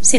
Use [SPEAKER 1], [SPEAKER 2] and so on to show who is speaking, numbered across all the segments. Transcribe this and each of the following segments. [SPEAKER 1] Si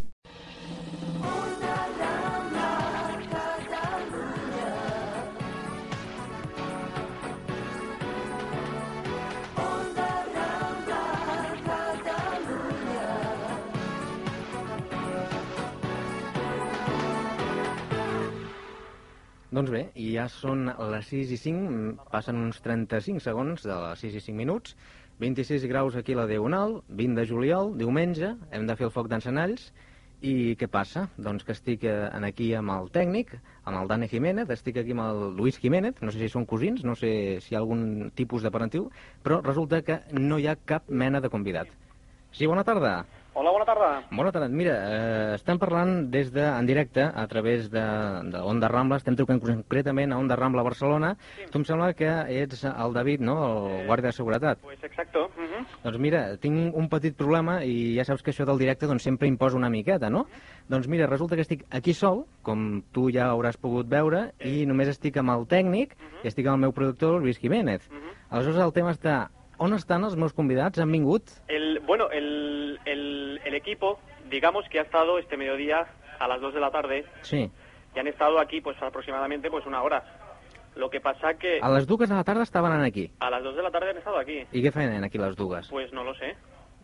[SPEAKER 2] Doncs bé, i ja són les 6 i 5, passen uns 35 segons de les 6 i 5 minuts, 26 graus aquí a la Diagonal, 20 de juliol, diumenge, hem de fer el foc d'encenalls, i què passa? Doncs que estic eh, en aquí amb el tècnic, amb el Dani Jiménez, estic aquí amb el Luis Jiménez, no sé si són cosins, no sé si hi ha algun tipus de parentiu, però resulta que no hi ha cap mena de convidat. Sí, bona tarda.
[SPEAKER 3] Hola, bona tarda.
[SPEAKER 2] Bona tarda. Mira, eh, estem parlant des de, en directe a través de, de Onda Rambla, estem trucant concretament a Onda Rambla Barcelona. Sí. Tu em sembla que ets el David, no?, el eh... guàrdia de seguretat.
[SPEAKER 3] Pues exacto. Uh -huh.
[SPEAKER 2] Doncs mira, tinc un petit problema i ja saps que això del directe doncs, sempre imposa una miqueta, no? Doncs mira, resulta que estic aquí sol, com tu ja hauràs pogut veure, i només estic amb el tècnic i estic amb el meu productor, Luis Jiménez. Aleshores, el tema està... On estan els meus convidats? Han vingut?
[SPEAKER 3] El, bueno, el, el, el equipo, digamos que ha estado este mediodía a las 2 de la tarde
[SPEAKER 2] Sí.
[SPEAKER 3] y han estado aquí pues aproximadamente pues una hora. Lo que pasa que
[SPEAKER 2] A les dues de la tarda estaven aquí.
[SPEAKER 3] a las 2 de la tarde han estado aquí.
[SPEAKER 2] I què feien aquí les dues?
[SPEAKER 3] Pues no lo sé,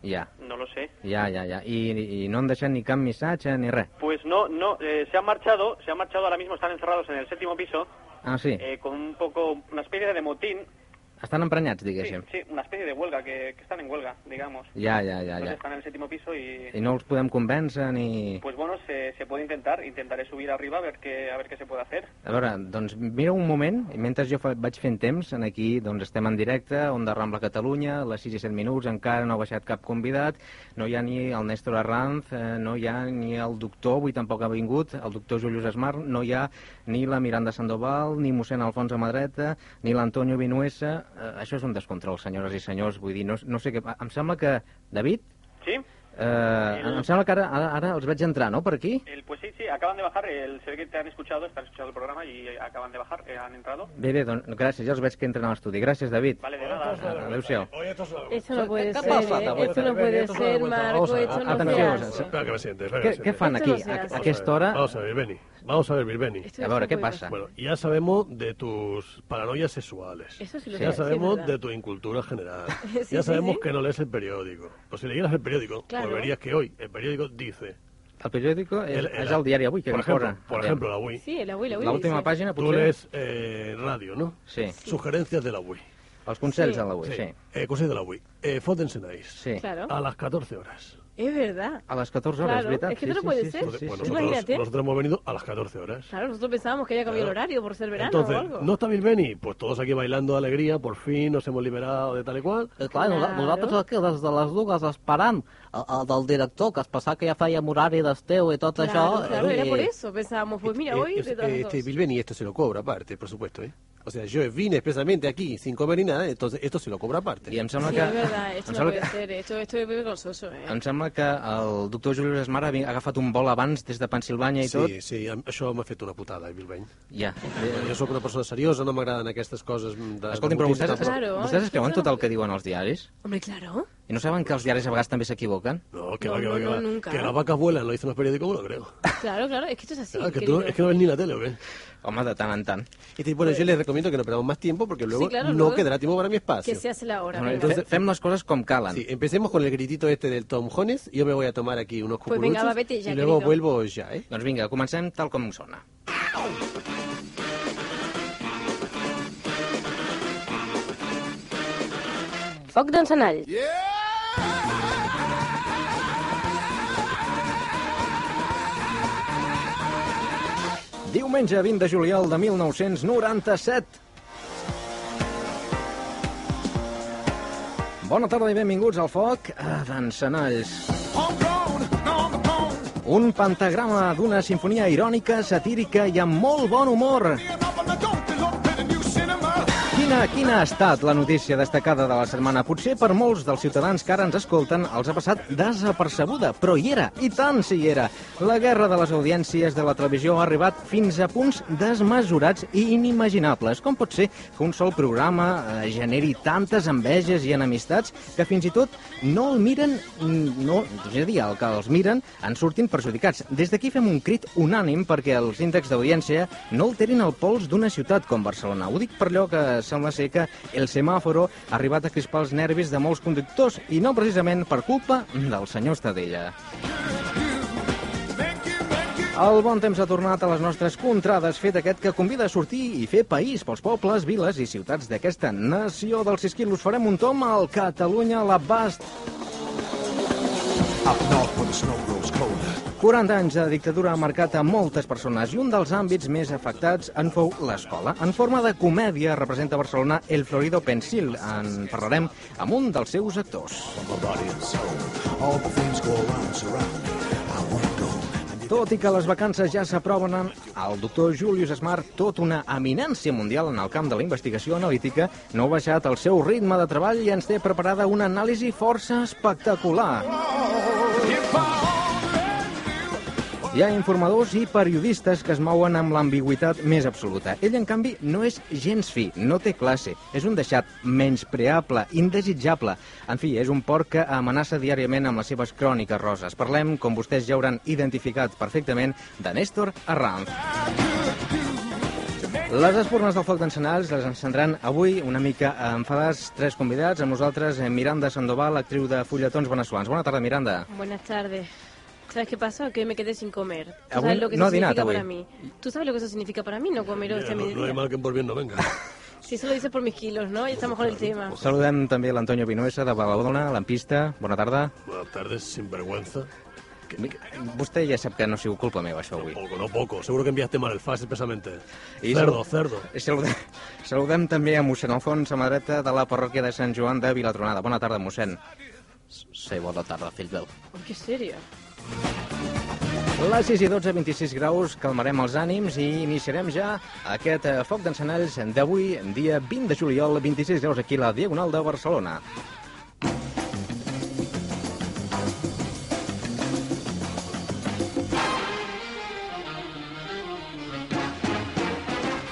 [SPEAKER 2] Ja,
[SPEAKER 3] no lo sé.
[SPEAKER 2] ja, ja, ja. I, i no han deixat ni cap missatge ni res.
[SPEAKER 3] Pues no, no, eh, se han marchado, se han marchado, ahora mismo están encerrados en el séptimo piso
[SPEAKER 2] Ah, sí?
[SPEAKER 3] eh, con un poco, una especie de motín.
[SPEAKER 2] Estan emprenyats,
[SPEAKER 3] Sí,
[SPEAKER 2] diguéssim.
[SPEAKER 3] sí, una especie de huelga, que, que están en huelga, digamos.
[SPEAKER 2] Ja, ja, ja,
[SPEAKER 3] Entonces
[SPEAKER 2] ja.
[SPEAKER 3] están en el séptimo piso y...
[SPEAKER 2] I no els podem convèncer ni...
[SPEAKER 3] Pues bueno, se, se puede intentar. Intentaré subir arriba a ver qué, a ver qué se puede hacer.
[SPEAKER 2] A veure, doncs mira un moment, i mentre jo fa, vaig fent temps, en aquí doncs estem en directe, Onda Rambla Catalunya, a les 6 i 7 minuts, encara no ha baixat cap convidat, no hi ha ni el Néstor Arranz, eh, no hi ha ni el doctor, avui tampoc ha vingut, el doctor Julius Esmar, no hi ha ni la Miranda Sandoval, ni mossèn Alfons Amadreta, ni l'Antonio Vinuesa, eh, això és un descontrol, senyores i senyors, vull dir, no, no sé què... Em sembla que, David,
[SPEAKER 3] ¿Sí?
[SPEAKER 2] eh, em sembla que ara, ara, ara els veig entrar, no?, per aquí?
[SPEAKER 3] El, pues sí, sí, acaban de bajar. El, se ve que te han escuchado, están escuchando el programa y eh, acaban de bajar, eh, han entrado.
[SPEAKER 2] Bé, bé, doncs gràcies, ja els veig que entren a l'estudi. Gràcies, David.
[SPEAKER 3] Vale, de nada.
[SPEAKER 2] Adéu-siau.
[SPEAKER 4] Eso no puede
[SPEAKER 2] ¿Qué ha
[SPEAKER 4] ser,
[SPEAKER 2] pasado,
[SPEAKER 4] ¿eh?
[SPEAKER 2] abuela?
[SPEAKER 4] Eso no puede
[SPEAKER 5] Esto es una
[SPEAKER 4] ser,
[SPEAKER 5] vuelta.
[SPEAKER 4] Marco,
[SPEAKER 5] Vamos a ver,
[SPEAKER 4] eso no
[SPEAKER 2] atención,
[SPEAKER 4] se
[SPEAKER 2] o
[SPEAKER 4] hace.
[SPEAKER 2] sea,
[SPEAKER 5] Espera que me siente, espera que
[SPEAKER 2] ¿Qué,
[SPEAKER 5] me
[SPEAKER 2] qué
[SPEAKER 5] siente.
[SPEAKER 2] fan aquí?
[SPEAKER 4] Esto no
[SPEAKER 2] A,
[SPEAKER 4] se
[SPEAKER 2] a
[SPEAKER 4] hace.
[SPEAKER 5] Vamos a
[SPEAKER 2] aquesta
[SPEAKER 5] ver,
[SPEAKER 2] hora...
[SPEAKER 5] Vamos a ver, Benny. Vamos a ver, Bilbeni.
[SPEAKER 4] Esto
[SPEAKER 2] A
[SPEAKER 4] no
[SPEAKER 2] veure,
[SPEAKER 4] se
[SPEAKER 2] què
[SPEAKER 4] puede
[SPEAKER 2] passa?
[SPEAKER 4] hacer.
[SPEAKER 5] Bueno, ya sabemos de tus paranoias sexuales.
[SPEAKER 4] Eso sí
[SPEAKER 2] Sí.
[SPEAKER 4] lo sé,
[SPEAKER 5] Ya
[SPEAKER 4] sí, es
[SPEAKER 5] sabemos
[SPEAKER 4] verdad.
[SPEAKER 5] de tu incultura general.
[SPEAKER 4] Sí, sí,
[SPEAKER 5] ya sabemos
[SPEAKER 4] sí.
[SPEAKER 5] que no lees el periódico. Pues si leyeras el periódico, pues
[SPEAKER 4] Claro.
[SPEAKER 5] verías que hoy el periódico dice...
[SPEAKER 2] El periòdico és,
[SPEAKER 5] El- el-
[SPEAKER 2] és el diari avui, que
[SPEAKER 5] por
[SPEAKER 2] corre.
[SPEAKER 5] ejemplo, por ejemplo, la UI.
[SPEAKER 4] Sí, el abuelo, abuelo.
[SPEAKER 2] L'última
[SPEAKER 4] sí.
[SPEAKER 2] pàgina,
[SPEAKER 5] Tú
[SPEAKER 2] potser...
[SPEAKER 5] lees eh, radio, ¿no?
[SPEAKER 2] Sí,
[SPEAKER 5] Sugerencias de la UI.
[SPEAKER 2] els consells
[SPEAKER 4] Sí.
[SPEAKER 2] de l'avui, sí.
[SPEAKER 5] Eh, cosas de la UI. Eh, Fódense nice.
[SPEAKER 2] sí.
[SPEAKER 4] Claro,
[SPEAKER 6] "Ah".
[SPEAKER 5] A las 14 horas.
[SPEAKER 4] es verdad.
[SPEAKER 2] A les 14 hores,
[SPEAKER 4] Claro,
[SPEAKER 2] veritat?
[SPEAKER 4] es que
[SPEAKER 2] sí,
[SPEAKER 4] no
[SPEAKER 2] sí,
[SPEAKER 4] puede
[SPEAKER 2] sí,
[SPEAKER 4] ser.
[SPEAKER 2] Sí, sí, sí.
[SPEAKER 5] Bueno,
[SPEAKER 4] Bueno,
[SPEAKER 5] nosotros,
[SPEAKER 4] Imagínate.
[SPEAKER 5] nosotros hemos venido a las 14 horas.
[SPEAKER 4] Claro, nosotros pensábamos que había cambiado
[SPEAKER 5] Claro.
[SPEAKER 4] el horario por ser verano
[SPEAKER 5] Entonces,
[SPEAKER 4] o algo.
[SPEAKER 5] ¿no está Bilbeni? Pues todos aquí bailando de alegría, por fin nos hemos liberado de tal y cual.
[SPEAKER 6] Eh, Clar, claro.
[SPEAKER 4] Claro.
[SPEAKER 6] nosaltres aquí, des de les dues, esperant el, el del director, que es pensava que ja fèiem horari d'esteu i tot
[SPEAKER 4] Claro,
[SPEAKER 6] això.
[SPEAKER 4] claro,
[SPEAKER 6] i-
[SPEAKER 4] era por eso. Pensábamos, pues mira,
[SPEAKER 7] Eh,
[SPEAKER 4] hoy
[SPEAKER 7] es-
[SPEAKER 4] de todas
[SPEAKER 7] eh,
[SPEAKER 4] las
[SPEAKER 7] este
[SPEAKER 4] dos.
[SPEAKER 7] Bilbeni esto se lo cobra aparte, por supuesto, ¿eh? O sea, yo vine expresamente aquí sin comer ni nada, entonces esto se lo cobra aparte.
[SPEAKER 2] I em sembla
[SPEAKER 4] Sí,
[SPEAKER 2] que...
[SPEAKER 4] es verdad, esto
[SPEAKER 2] em
[SPEAKER 4] no
[SPEAKER 2] sembla
[SPEAKER 4] puede
[SPEAKER 2] que...
[SPEAKER 4] ser, esto, esto es muy vergonzoso, ¿eh?
[SPEAKER 2] Em sembla que el doctor Julius Esmar ha vi- ha agafat un vol abans des de Pensilvània i tot.
[SPEAKER 7] Sí, sí, em- això m'ha fet una putada, eh, Bilbeny.
[SPEAKER 2] Ja. Eh,
[SPEAKER 7] Jo sóc una persona seriosa, no m'agraden aquestes coses mm, de... de
[SPEAKER 2] Escolti'm, però
[SPEAKER 7] botín
[SPEAKER 2] vostès,
[SPEAKER 7] tampoc.
[SPEAKER 4] Claro,
[SPEAKER 2] vostès es
[SPEAKER 4] esto
[SPEAKER 2] creuen
[SPEAKER 4] no-
[SPEAKER 2] tot el que diuen els diaris?
[SPEAKER 4] Hombre, claro.
[SPEAKER 2] I no saben que els diaris a vegades també s'equivoquen?
[SPEAKER 7] No, que
[SPEAKER 4] No,
[SPEAKER 7] va, que va,
[SPEAKER 4] no,
[SPEAKER 7] que
[SPEAKER 4] no,
[SPEAKER 7] va.
[SPEAKER 4] nunca.
[SPEAKER 7] Que las vacas vuelan, lo dicen los periódicos, bueno, creo.
[SPEAKER 4] Claro, claro, es que esto es así.
[SPEAKER 7] Ah, que tú,
[SPEAKER 4] querido.
[SPEAKER 7] es que no ves ni la tele, ¿o qué?
[SPEAKER 2] Home, de tant en tant.
[SPEAKER 7] Este, bueno, yo les recomiendo que no perdamos más tiempo porque luego
[SPEAKER 4] claro,
[SPEAKER 7] no
[SPEAKER 4] luego-
[SPEAKER 7] quedará tiempo para mi espacio.
[SPEAKER 4] Que se hace la hora.
[SPEAKER 2] Bueno,
[SPEAKER 4] venga.
[SPEAKER 2] fe- Fem les coses com calen.
[SPEAKER 7] Sí, empecemos con el gritito este del Tom Jones. Yo me voy a tomar aquí unos
[SPEAKER 4] Pues
[SPEAKER 7] cucuruchos
[SPEAKER 4] venga, va, vete ya,
[SPEAKER 7] y luego
[SPEAKER 4] querido.
[SPEAKER 7] vuelvo ya, ¿eh?
[SPEAKER 2] Doncs vinga, comencem tal com sona.
[SPEAKER 8] Foc d'encenall.
[SPEAKER 2] Diumenge 20 de juliol de 1997. Bona tarda i benvinguts al foc eh, d'encenalls. Un pentagrama d'una sinfonia irònica, satírica i amb molt bon humor. Quin Quina, quina ha estat la notícia destacada de la setmana? Potser per molts dels ciutadans que ara ens escolten els ha passat desapercebuda, però hi era, i tant si hi era. La guerra de les audiències de la televisió ha arribat fins a punts desmesurats i inimaginables. Com pot ser que un sol programa eh, generi tantes enveges i enemistats que fins i tot no el miren, mm, no, és a dir, el que els miren en surtin perjudicats. Des d'aquí fem un crit unànim perquè els índexs d'audiència no alterin el pols d'una ciutat com Barcelona. Ho dic per allò que sembla ser que el semàforo ha arribat a crispar els nervis de molts conductors i no precisament per culpa del senyor Estadella. El bon temps ha tornat a les nostres contrades, fet aquest que convida a sortir i fer país pels pobles, viles i ciutats d'aquesta nació dels 6 quilos. Farem un tom al Catalunya a l'abast. 40 anys de dictadura ha marcat a moltes persones i un dels àmbits més afectats en fou l'escola. En forma de comèdia representa a Barcelona el Florido Pensil. En parlarem amb un dels seus actors. Tot i que les vacances ja s'aproven, el doctor Julius Smart, tot una eminència mundial en el camp de la investigació analítica, no ha baixat el seu ritme de treball i ens té preparada una anàlisi força espectacular. Hi ha informadors i periodistes que es mouen amb l'ambigüitat més absoluta. Ell, en canvi, no és gens fi, no té classe. És un deixat menyspreable, indesitjable. En fi, és un porc que amenaça diàriament amb les seves cròniques roses. Parlem, com vostès ja hauran identificat perfectament, de Néstor Arranz. Les espurnes del foc d'encenalls les encendran avui una mica enfadats tres convidats. Amb nosaltres eh, Miranda Sandoval, actriu de Fulletons Veneçolans. Bona tarda, Miranda.
[SPEAKER 4] Buenas tardes. ¿Sabes qué pasa? Que hoy me quedé sin comer. ¿Tú
[SPEAKER 2] Aún
[SPEAKER 4] sabes lo que
[SPEAKER 2] Ah, no
[SPEAKER 4] eso
[SPEAKER 2] ha
[SPEAKER 4] significa
[SPEAKER 2] dinado,
[SPEAKER 4] para
[SPEAKER 2] güey.
[SPEAKER 4] mí? ¿Tú sabes lo que eso significa para mí? No comer hoy
[SPEAKER 5] Mira,
[SPEAKER 4] a
[SPEAKER 5] no, no hay
[SPEAKER 4] mediodía.
[SPEAKER 5] mal que en por bien no venga.
[SPEAKER 4] Si eso lo dices por mis kilos, ¿no? Ya estamos con el tema.
[SPEAKER 2] Saludem també l'Antonio Vinuesa de Badalona, l'ampista. Bona tarda.
[SPEAKER 5] Buenas tardes, sinvergüenza.
[SPEAKER 2] Mi- Vostè ja sap que no ha sigut culpa meva, això, avui.
[SPEAKER 5] Poco, no poco. Seguro que enviaste mal el fax expresamente.
[SPEAKER 2] I
[SPEAKER 5] cerdo,
[SPEAKER 2] salu-
[SPEAKER 5] cerdo.
[SPEAKER 2] Eh, Saludem, saludem també a mossèn Alfons, a mà dreta de la parròquia de Sant Joan de Vilatronada. Bona tarda, mossèn.
[SPEAKER 9] Sí, bona tarda, fill meu.
[SPEAKER 4] Uy, qué serio.
[SPEAKER 2] Les 6 i 12, 26 graus, calmarem els ànims i iniciarem ja aquest eh, foc d'encenalls d'avui, dia 20 de juliol, 26 graus aquí a la Diagonal de Barcelona.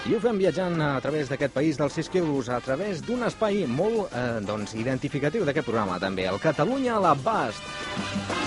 [SPEAKER 2] I ho fem viatjant a través d'aquest país dels 6 quilos, a través d'un espai molt eh, doncs, identificatiu d'aquest programa, també, el Catalunya a l'abast.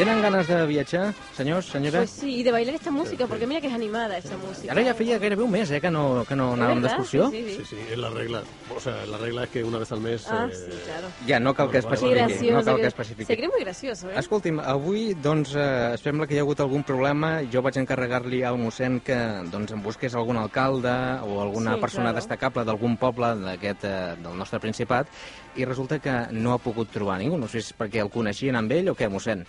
[SPEAKER 2] Tenen ganes de viatjar, senyors, senyores?
[SPEAKER 4] Pues sí, y de bailar esta música, porque mira que es animada esta música.
[SPEAKER 2] Ara ja feia gairebé un mes eh, que no, que no anàvem
[SPEAKER 4] ¿Verdad?
[SPEAKER 2] d'excursió.
[SPEAKER 4] Sí, sí, sí.
[SPEAKER 5] Sí, sí, es la regla. O sea, la regla es que una vez al mes...
[SPEAKER 4] Ah,
[SPEAKER 5] eh,
[SPEAKER 4] sí, claro.
[SPEAKER 2] Ja, no cal que
[SPEAKER 5] Bueno,
[SPEAKER 4] Qué
[SPEAKER 5] bueno,
[SPEAKER 2] especifiqui.
[SPEAKER 4] gracioso.
[SPEAKER 2] Pues no cal
[SPEAKER 4] que-
[SPEAKER 2] que Ah,
[SPEAKER 4] Se
[SPEAKER 2] especifiqui.
[SPEAKER 4] cree muy gracioso, ¿eh?
[SPEAKER 2] Escolti'm, avui doncs, eh, es sembla que hi ha hagut algun problema. Jo vaig encarregar-li al mossèn que doncs, em busqués algun alcalde o alguna
[SPEAKER 4] Sí,
[SPEAKER 2] persona
[SPEAKER 4] claro.
[SPEAKER 2] destacable d'algun poble d'aquest, eh, del nostre Principat i resulta que no ha pogut trobar ningú. No sé si és perquè el coneixien amb ell o què, mossèn.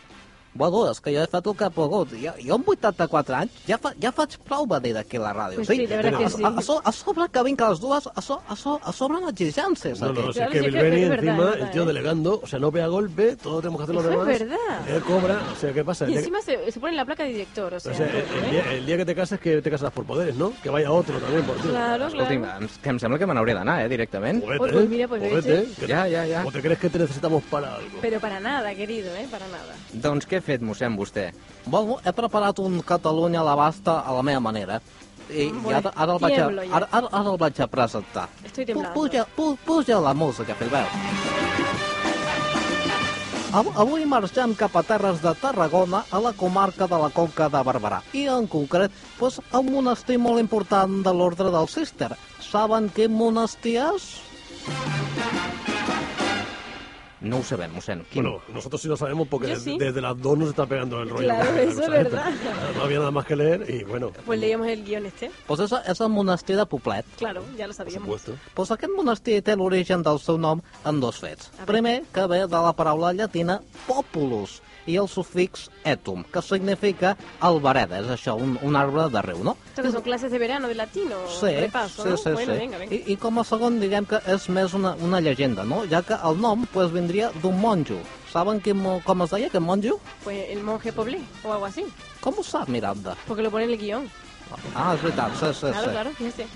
[SPEAKER 9] Bueno, és que jo he fet el que he pogut. Jo, jo amb 84 anys ja, fa, ja faig prou venir aquí a la ràdio.
[SPEAKER 4] Pues sí, de veritat que
[SPEAKER 9] a,
[SPEAKER 4] sí.
[SPEAKER 9] a, a, so- a sobre que vinc a les dues, a, so, a, so, a sobre les exigències.
[SPEAKER 5] No,
[SPEAKER 9] aquí.
[SPEAKER 5] no, no, si es
[SPEAKER 4] Claro,
[SPEAKER 5] que
[SPEAKER 4] sí, es
[SPEAKER 5] Bilbeni,
[SPEAKER 4] que es
[SPEAKER 5] encima,
[SPEAKER 4] verdad, es verdad,
[SPEAKER 5] el tío
[SPEAKER 4] eh.
[SPEAKER 5] delegando, o sea, no pega golpe, todo tenemos que hacer los
[SPEAKER 4] Eso es
[SPEAKER 5] demás.
[SPEAKER 4] verdad.
[SPEAKER 5] Él cobra, o sea, ¿qué
[SPEAKER 2] ¿eh?
[SPEAKER 5] pasa? El
[SPEAKER 4] Y
[SPEAKER 5] día-
[SPEAKER 4] encima se, se pone en la placa de director, o sea.
[SPEAKER 5] o sea,
[SPEAKER 4] todo,
[SPEAKER 5] el,
[SPEAKER 4] ¿eh?
[SPEAKER 5] día, el día que te cases, que te casarás por poderes, ¿no? Que vaya otro también por ti.
[SPEAKER 4] Claro,
[SPEAKER 2] Escolti'm,
[SPEAKER 4] claro.
[SPEAKER 2] em, que em sembla que me n'hauré d'anar, eh, directament.
[SPEAKER 5] O vete,
[SPEAKER 4] Pues, pues, mira, pues,
[SPEAKER 5] o
[SPEAKER 4] vete.
[SPEAKER 5] vete, que-
[SPEAKER 2] Ja, ja, ja.
[SPEAKER 5] ¿O te crees que te necesitamos para algo?
[SPEAKER 4] Pero para nada, querido, ¿eh? Para nada.
[SPEAKER 2] Doncs què ha fet, mossèn, vostè?
[SPEAKER 9] Bueno, he preparat un Catalunya a l'abasta a la meva manera. I, i ara, ara, el vaig a,
[SPEAKER 4] tiemblo ja.
[SPEAKER 9] ara, ara, ara el vaig a presentar.
[SPEAKER 4] Estoy
[SPEAKER 9] Pu-
[SPEAKER 4] temblando.
[SPEAKER 9] Puja, pu- puja la música, Filbert. Av- Avui marxem cap a terres de Tarragona, a la comarca de la Conca de Barberà, i en concret doncs, a un monestir molt important de l'ordre del Cister. Saben quin monestir és?
[SPEAKER 2] No ho sabem, mossèn. Quin?
[SPEAKER 5] Bueno, nosotros sí lo sabemos porque
[SPEAKER 4] Yo
[SPEAKER 5] desde,
[SPEAKER 4] sí.
[SPEAKER 5] desde las dos nos está pegando el rollo.
[SPEAKER 4] Claro,
[SPEAKER 5] La
[SPEAKER 4] eso es
[SPEAKER 5] cosa esta.
[SPEAKER 4] verdad.
[SPEAKER 5] No había nada más que leer y bueno,
[SPEAKER 4] Pues leíamos el guión este.
[SPEAKER 9] Doncs és, és el monestir de Poblet.
[SPEAKER 4] Claro, ya
[SPEAKER 5] por
[SPEAKER 4] lo sabíamos.
[SPEAKER 5] supuesto.
[SPEAKER 9] Doncs aquest monestir té l'origen del seu nom en dos fets.
[SPEAKER 4] A veure.
[SPEAKER 9] Primer, que ve de la paraula llatina populus i el sufix etum, que significa albareda, és això, un, un arbre de riu, no?
[SPEAKER 4] Esto que son clases de verano de latino.
[SPEAKER 9] Sí,
[SPEAKER 4] repaso,
[SPEAKER 9] sí,
[SPEAKER 4] ¿no?
[SPEAKER 9] sí,
[SPEAKER 4] bueno,
[SPEAKER 9] sí.
[SPEAKER 4] venga, venga.
[SPEAKER 9] I, I com a segon, diguem que és més una, una llegenda, no? Ja que el nom pues, vindria d'un monjo. Saben que, com es deia aquest monjo?
[SPEAKER 4] Pues el monje poblé o algo así.
[SPEAKER 9] Com ho sap, Miranda?
[SPEAKER 4] Porque lo pone en el guión.
[SPEAKER 9] Ah, és veritat, sí, sí,
[SPEAKER 4] Claro,
[SPEAKER 9] sí.
[SPEAKER 4] claro, fíjese.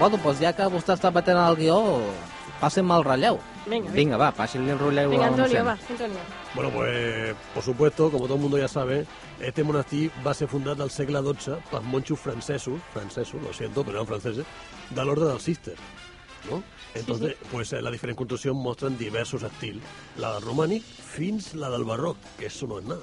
[SPEAKER 2] Bueno, doncs ja que vostè està batent el guió, passem el relleu.
[SPEAKER 4] Venga, venga.
[SPEAKER 10] Vinga, va, passi-li el rotlleu
[SPEAKER 4] Venga,
[SPEAKER 10] a un
[SPEAKER 4] Antonio,
[SPEAKER 10] cent.
[SPEAKER 4] va, Antonio.
[SPEAKER 5] Bueno, pues, por supuesto, como todo el mundo ya sabe, este monestir va ser fundat al segle XII pels monxos francesos, francesos, lo siento, però eren franceses, de l'ordre dels Sisters. No? Entonces, pues, eh, la diferent construcció mostren diversos estils, la del romànic fins la del barroc, que eso no es nada.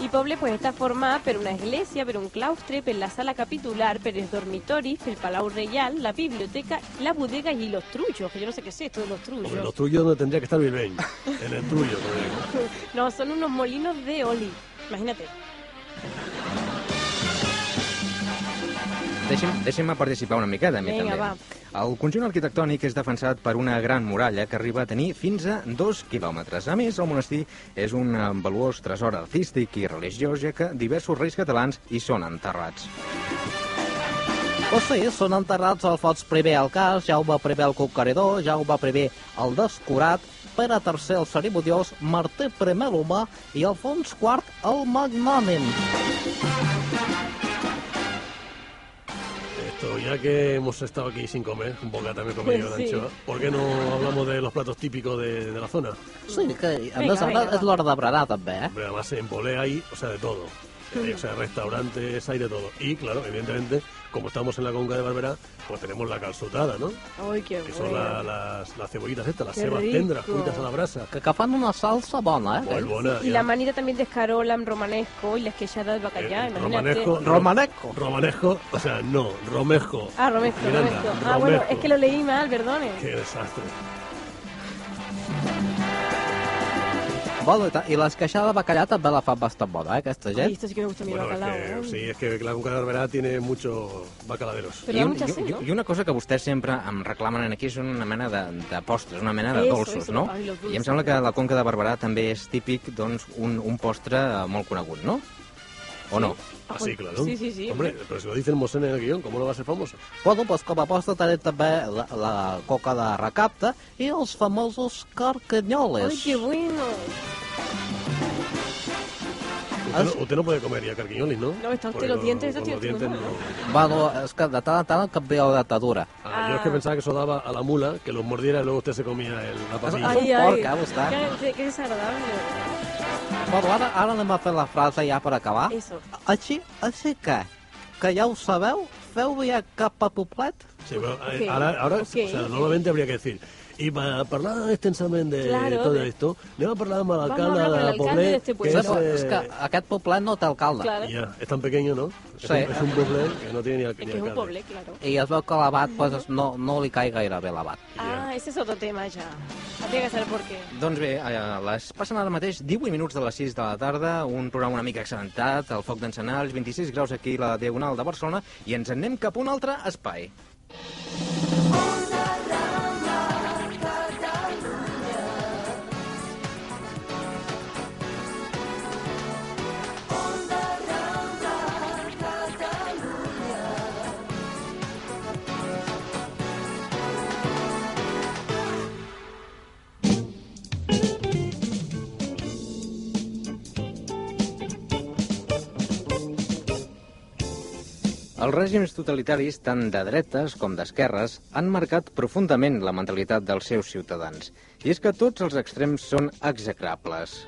[SPEAKER 4] Y Poble pues está formada por una iglesia, por un claustre, por la sala capitular, por los dormitorios, por el Palau Real, la biblioteca, la bodega y los trullos, que yo no sé qué es esto de los trullos.
[SPEAKER 5] Hombre, los trullos donde tendría que estar Bilbao, en el trullo, como digo.
[SPEAKER 4] No, son unos molinos de oli, imagínate.
[SPEAKER 10] Deixem, deixem participar una mica, també,
[SPEAKER 4] Vinga,
[SPEAKER 10] també. Va. El conjunt arquitectònic és defensat per una gran muralla que arriba a tenir fins a dos quilòmetres. A més, el monestir és un eh, valuós tresor artístic i religiós, ja que diversos reis catalans hi són enterrats.
[SPEAKER 2] O sigui, són enterrats Alfons I al cas, Jaume I el conqueridor, Jaume I el descurat, Pere III el cerimoniós, Martí I l'humà i Alfons IV el magnànim.
[SPEAKER 5] Esto, ya que hemos estado aquí sin comer, un bocata me he comido de
[SPEAKER 4] Pues sí.
[SPEAKER 5] anchoa, ¿por qué no hablamos de los platos típicos de, de la zona?
[SPEAKER 2] Sí, que a
[SPEAKER 4] Vinga,
[SPEAKER 2] més ara
[SPEAKER 4] vinga,
[SPEAKER 2] és l'hora de berenar també, eh?
[SPEAKER 5] Hombre, además en Polé hay, o sea, de todo. Eh, o sea, restaurantes, hay de todo. Y claro, evidentemente, como estamos en la conca de Barberá, pues tenemos la calzotada, ¿no?
[SPEAKER 4] Ay, qué
[SPEAKER 5] Que son la- las, las cebollitas estas, las
[SPEAKER 4] Qué
[SPEAKER 5] cebas
[SPEAKER 4] rico.
[SPEAKER 5] tendras, cuitas a la brasa.
[SPEAKER 2] Que, que fan una salsa bona, eh?
[SPEAKER 5] Muy buena.
[SPEAKER 4] Y la manita también de escarola, en romanesco y la esquellada de bacallá, imagínate.
[SPEAKER 5] Eh, romanesco,
[SPEAKER 2] Romanesco.
[SPEAKER 5] romanesco, o sea, no, romejo.
[SPEAKER 4] Ah, romanesco,
[SPEAKER 5] Miranda,
[SPEAKER 4] romanesco. Ah, bueno,
[SPEAKER 5] romejo.
[SPEAKER 4] es que lo leí mal, perdone.
[SPEAKER 5] Qué desastre.
[SPEAKER 2] Bueno, i ta- i l'esqueixada de bacallà també la fan bastant bona, eh, aquesta
[SPEAKER 4] Ay,
[SPEAKER 2] gent?
[SPEAKER 4] esto sí que me gusta mi
[SPEAKER 5] Bueno,
[SPEAKER 4] bacalao.
[SPEAKER 5] es
[SPEAKER 4] ay.
[SPEAKER 5] que, sí, es que la conca de Barberá tiene muchos bacaladeros.
[SPEAKER 4] Pero
[SPEAKER 10] I,
[SPEAKER 4] da
[SPEAKER 10] un,
[SPEAKER 4] mucha sed, Ah,
[SPEAKER 10] i,
[SPEAKER 4] ¿no?
[SPEAKER 10] I una cosa que vostès sempre em reclamen aquí són una mena de, de postres, una mena de
[SPEAKER 4] Eso,
[SPEAKER 10] dolços,
[SPEAKER 4] eso.
[SPEAKER 10] no?
[SPEAKER 4] Ai, los dulces.
[SPEAKER 10] I em sembla que a la Conca de Barberà també és típic doncs, un, un postre eh, molt conegut, no? O no?
[SPEAKER 4] Ah,
[SPEAKER 5] Así,
[SPEAKER 4] pues,
[SPEAKER 5] claro.
[SPEAKER 4] Sí, sí, sí.
[SPEAKER 5] Hombre, pero si lo dice el Mosén en el guión, ¿cómo no va a ser famoso?
[SPEAKER 2] Bueno, doncs com a posta tenim també la, la coca de recapte i els famosos carcanyoles.
[SPEAKER 4] Ay, qué bueno.
[SPEAKER 5] Usted,
[SPEAKER 2] Ah,
[SPEAKER 5] no,
[SPEAKER 2] sí.
[SPEAKER 5] usted no puede comer ya carquiñolis, ¿no?
[SPEAKER 4] No, está usted
[SPEAKER 5] Porque
[SPEAKER 4] los
[SPEAKER 5] con-
[SPEAKER 4] dientes,
[SPEAKER 5] con
[SPEAKER 4] está
[SPEAKER 5] los
[SPEAKER 4] usted
[SPEAKER 5] dientes
[SPEAKER 4] muy
[SPEAKER 5] no.
[SPEAKER 2] Bueno, és que de tant en tant canvia la datadura.
[SPEAKER 5] Ah, Yo es que
[SPEAKER 4] Ah.
[SPEAKER 5] pensaba que eso daba a la mula, que los mordiera y luego usted se comía el, la papilla.
[SPEAKER 2] Ay. porca, gusta.
[SPEAKER 4] Qué, qué desagradable.
[SPEAKER 2] Bueno, ara, ara anem a fer la frase ja per acabar.
[SPEAKER 4] Eso.
[SPEAKER 2] Així, així que, que ja ho sabeu, feu ja cap a poblet?
[SPEAKER 5] Sí, pero, eh,
[SPEAKER 4] Ok,
[SPEAKER 5] ahora, ahora
[SPEAKER 4] ok.
[SPEAKER 5] o sea, normalmente habría que decir. Y para hablar extensamente este de
[SPEAKER 4] Claro,
[SPEAKER 5] todo
[SPEAKER 4] de-
[SPEAKER 5] esto, le vamos a hablar mal
[SPEAKER 4] Vamos a
[SPEAKER 5] alcalde
[SPEAKER 4] hablar con
[SPEAKER 5] de
[SPEAKER 4] el alcalde
[SPEAKER 5] Poblet,
[SPEAKER 4] de este
[SPEAKER 5] que
[SPEAKER 4] pueblo.
[SPEAKER 5] es,
[SPEAKER 2] no, és
[SPEAKER 5] eh,
[SPEAKER 2] que aquest poblet no té alcalde.
[SPEAKER 4] Claro.
[SPEAKER 5] ya, es tan pequeño, ¿no? Es
[SPEAKER 2] Sí.
[SPEAKER 5] un- Es un Poblet que no tiene ni, al- ni
[SPEAKER 4] Es que es un
[SPEAKER 5] alcalde.
[SPEAKER 4] poble, claro.
[SPEAKER 2] I es veu que l'abat
[SPEAKER 10] doncs,
[SPEAKER 2] pues, no, no li cae gaire bé l'abat.
[SPEAKER 4] Ah, ese es otro tema ya. Habría que saber por qué.
[SPEAKER 10] Doncs bé, eh, les passen ara mateix 18 minuts de les 6 de la tarda, un programa una mica accidentat, el foc d'encenalls, 26 graus aquí a la Diagonal de Barcelona, i ens en anem cap a un altre espai. Els règims totalitaris, tant de dretes com d'esquerres, han marcat profundament la mentalitat dels seus ciutadans. I és que tots els extrems són execrables.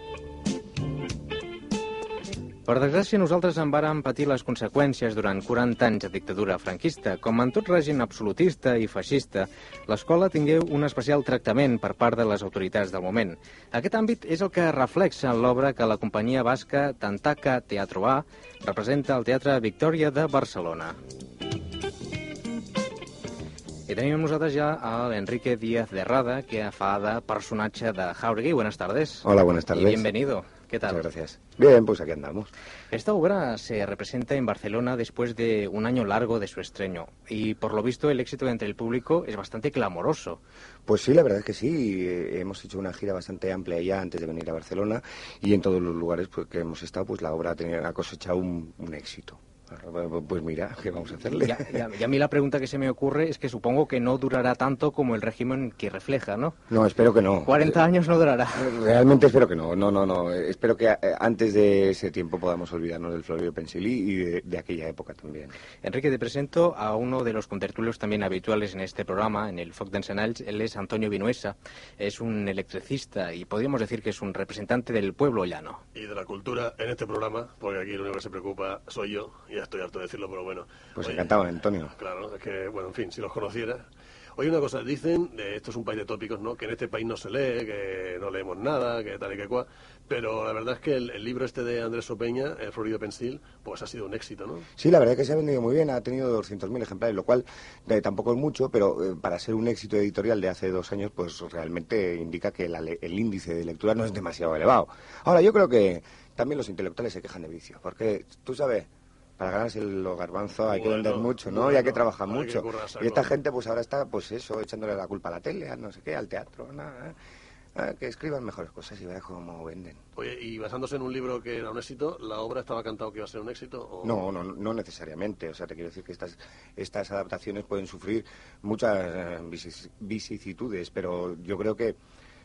[SPEAKER 10] Per desgràcia, nosaltres en vàrem patir les conseqüències durant 40 anys de dictadura franquista. Com en tot règim absolutista i feixista, l'escola tingué un especial tractament per part de les autoritats del moment. Aquest àmbit és el que reflexa en l'obra que la companyia basca Tantaca Teatro A representa al Teatre Victòria de Barcelona. I tenim amb nosaltres ja a l'Enrique Díaz de Rada, que fa de personatge de Jauregui. Buenas tardes.
[SPEAKER 11] Hola, buenas tardes.
[SPEAKER 10] Y bienvenido. ¿Qué tal?
[SPEAKER 11] Muchas gracias. Bien, pues aquí andamos.
[SPEAKER 10] Esta obra se representa en Barcelona después de un año largo de su estreno y por lo visto el éxito entre el público es bastante clamoroso.
[SPEAKER 11] Pues sí, la verdad es que sí. eh, Hemos hecho una gira bastante amplia ya antes de venir a Barcelona y en todos los lugares pues, que hemos estado, pues la obra ha tenido- ha cosechado un, un éxito. Pues mira, ¿qué vamos a hacerle?
[SPEAKER 10] Ya, ya- y a mí la pregunta que se me ocurre es que supongo que no durará tanto como el régimen que refleja, ¿no? Eh,
[SPEAKER 11] No, espero que no.
[SPEAKER 10] 40 años no durará.
[SPEAKER 11] Realmente espero que no, no, no, no. Eh, Espero que eh, antes de ese tiempo podamos olvidarnos del Florio Pensilí y de, de aquella época también.
[SPEAKER 10] Enrique, te presento a uno de los contertulios también habituales en este programa, en el Foc d'Encenalls. Él es Antonio Vinuesa, es un electricista y podríamos decir que es un representante del pueblo llano.
[SPEAKER 5] Y de la cultura en este programa, porque aquí lo único que se preocupa soy yo, y ya estoy harto de decirlo, pero bueno.
[SPEAKER 11] Pues
[SPEAKER 5] Oye,
[SPEAKER 11] encantado, Antonio.
[SPEAKER 5] Ah, Claro, es que, bueno, en fin, si los conociera. Oye, una cosa, dicen, de esto es un país de tópicos, ¿no? Que en este país no se lee, que no leemos nada, que tal y que cual. Pero la verdad es que el, el libro este de Andrés Opeña, El Florido Pensil, pues ha sido un éxito, ¿no?
[SPEAKER 11] Sí, la verdad es que se ha vendido muy bien, ha tenido 200.000 ejemplares, lo cual eh, tampoco es mucho, pero eh, para ser un éxito editorial de hace dos años, pues realmente indica que la le- el índice de lectura no es demasiado elevado. Ahora, yo creo que también los intelectuales se quejan de vicio, porque tú sabes, para ganarse los garbanzos hay que
[SPEAKER 5] Bueno,
[SPEAKER 11] vender mucho, ¿no? y
[SPEAKER 5] bueno,
[SPEAKER 11] hay que trabajar
[SPEAKER 5] hay que
[SPEAKER 11] mucho.
[SPEAKER 5] currar saco.
[SPEAKER 11] y esta gente, pues ahora está, pues eso, echándole la culpa a la tele, a no sé qué, al teatro, nada. ¿eh? Ah, que escriban mejores cosas y verás cómo venden.
[SPEAKER 5] Oye, y basándose en un libro que era un éxito, ¿la obra estaba cantado que iba a ser un éxito? O...
[SPEAKER 11] No, no, no necesariamente. O sea, te quiero decir que estas, estas adaptaciones pueden sufrir muchas eh, vicis- vicisitudes, pero yo creo que,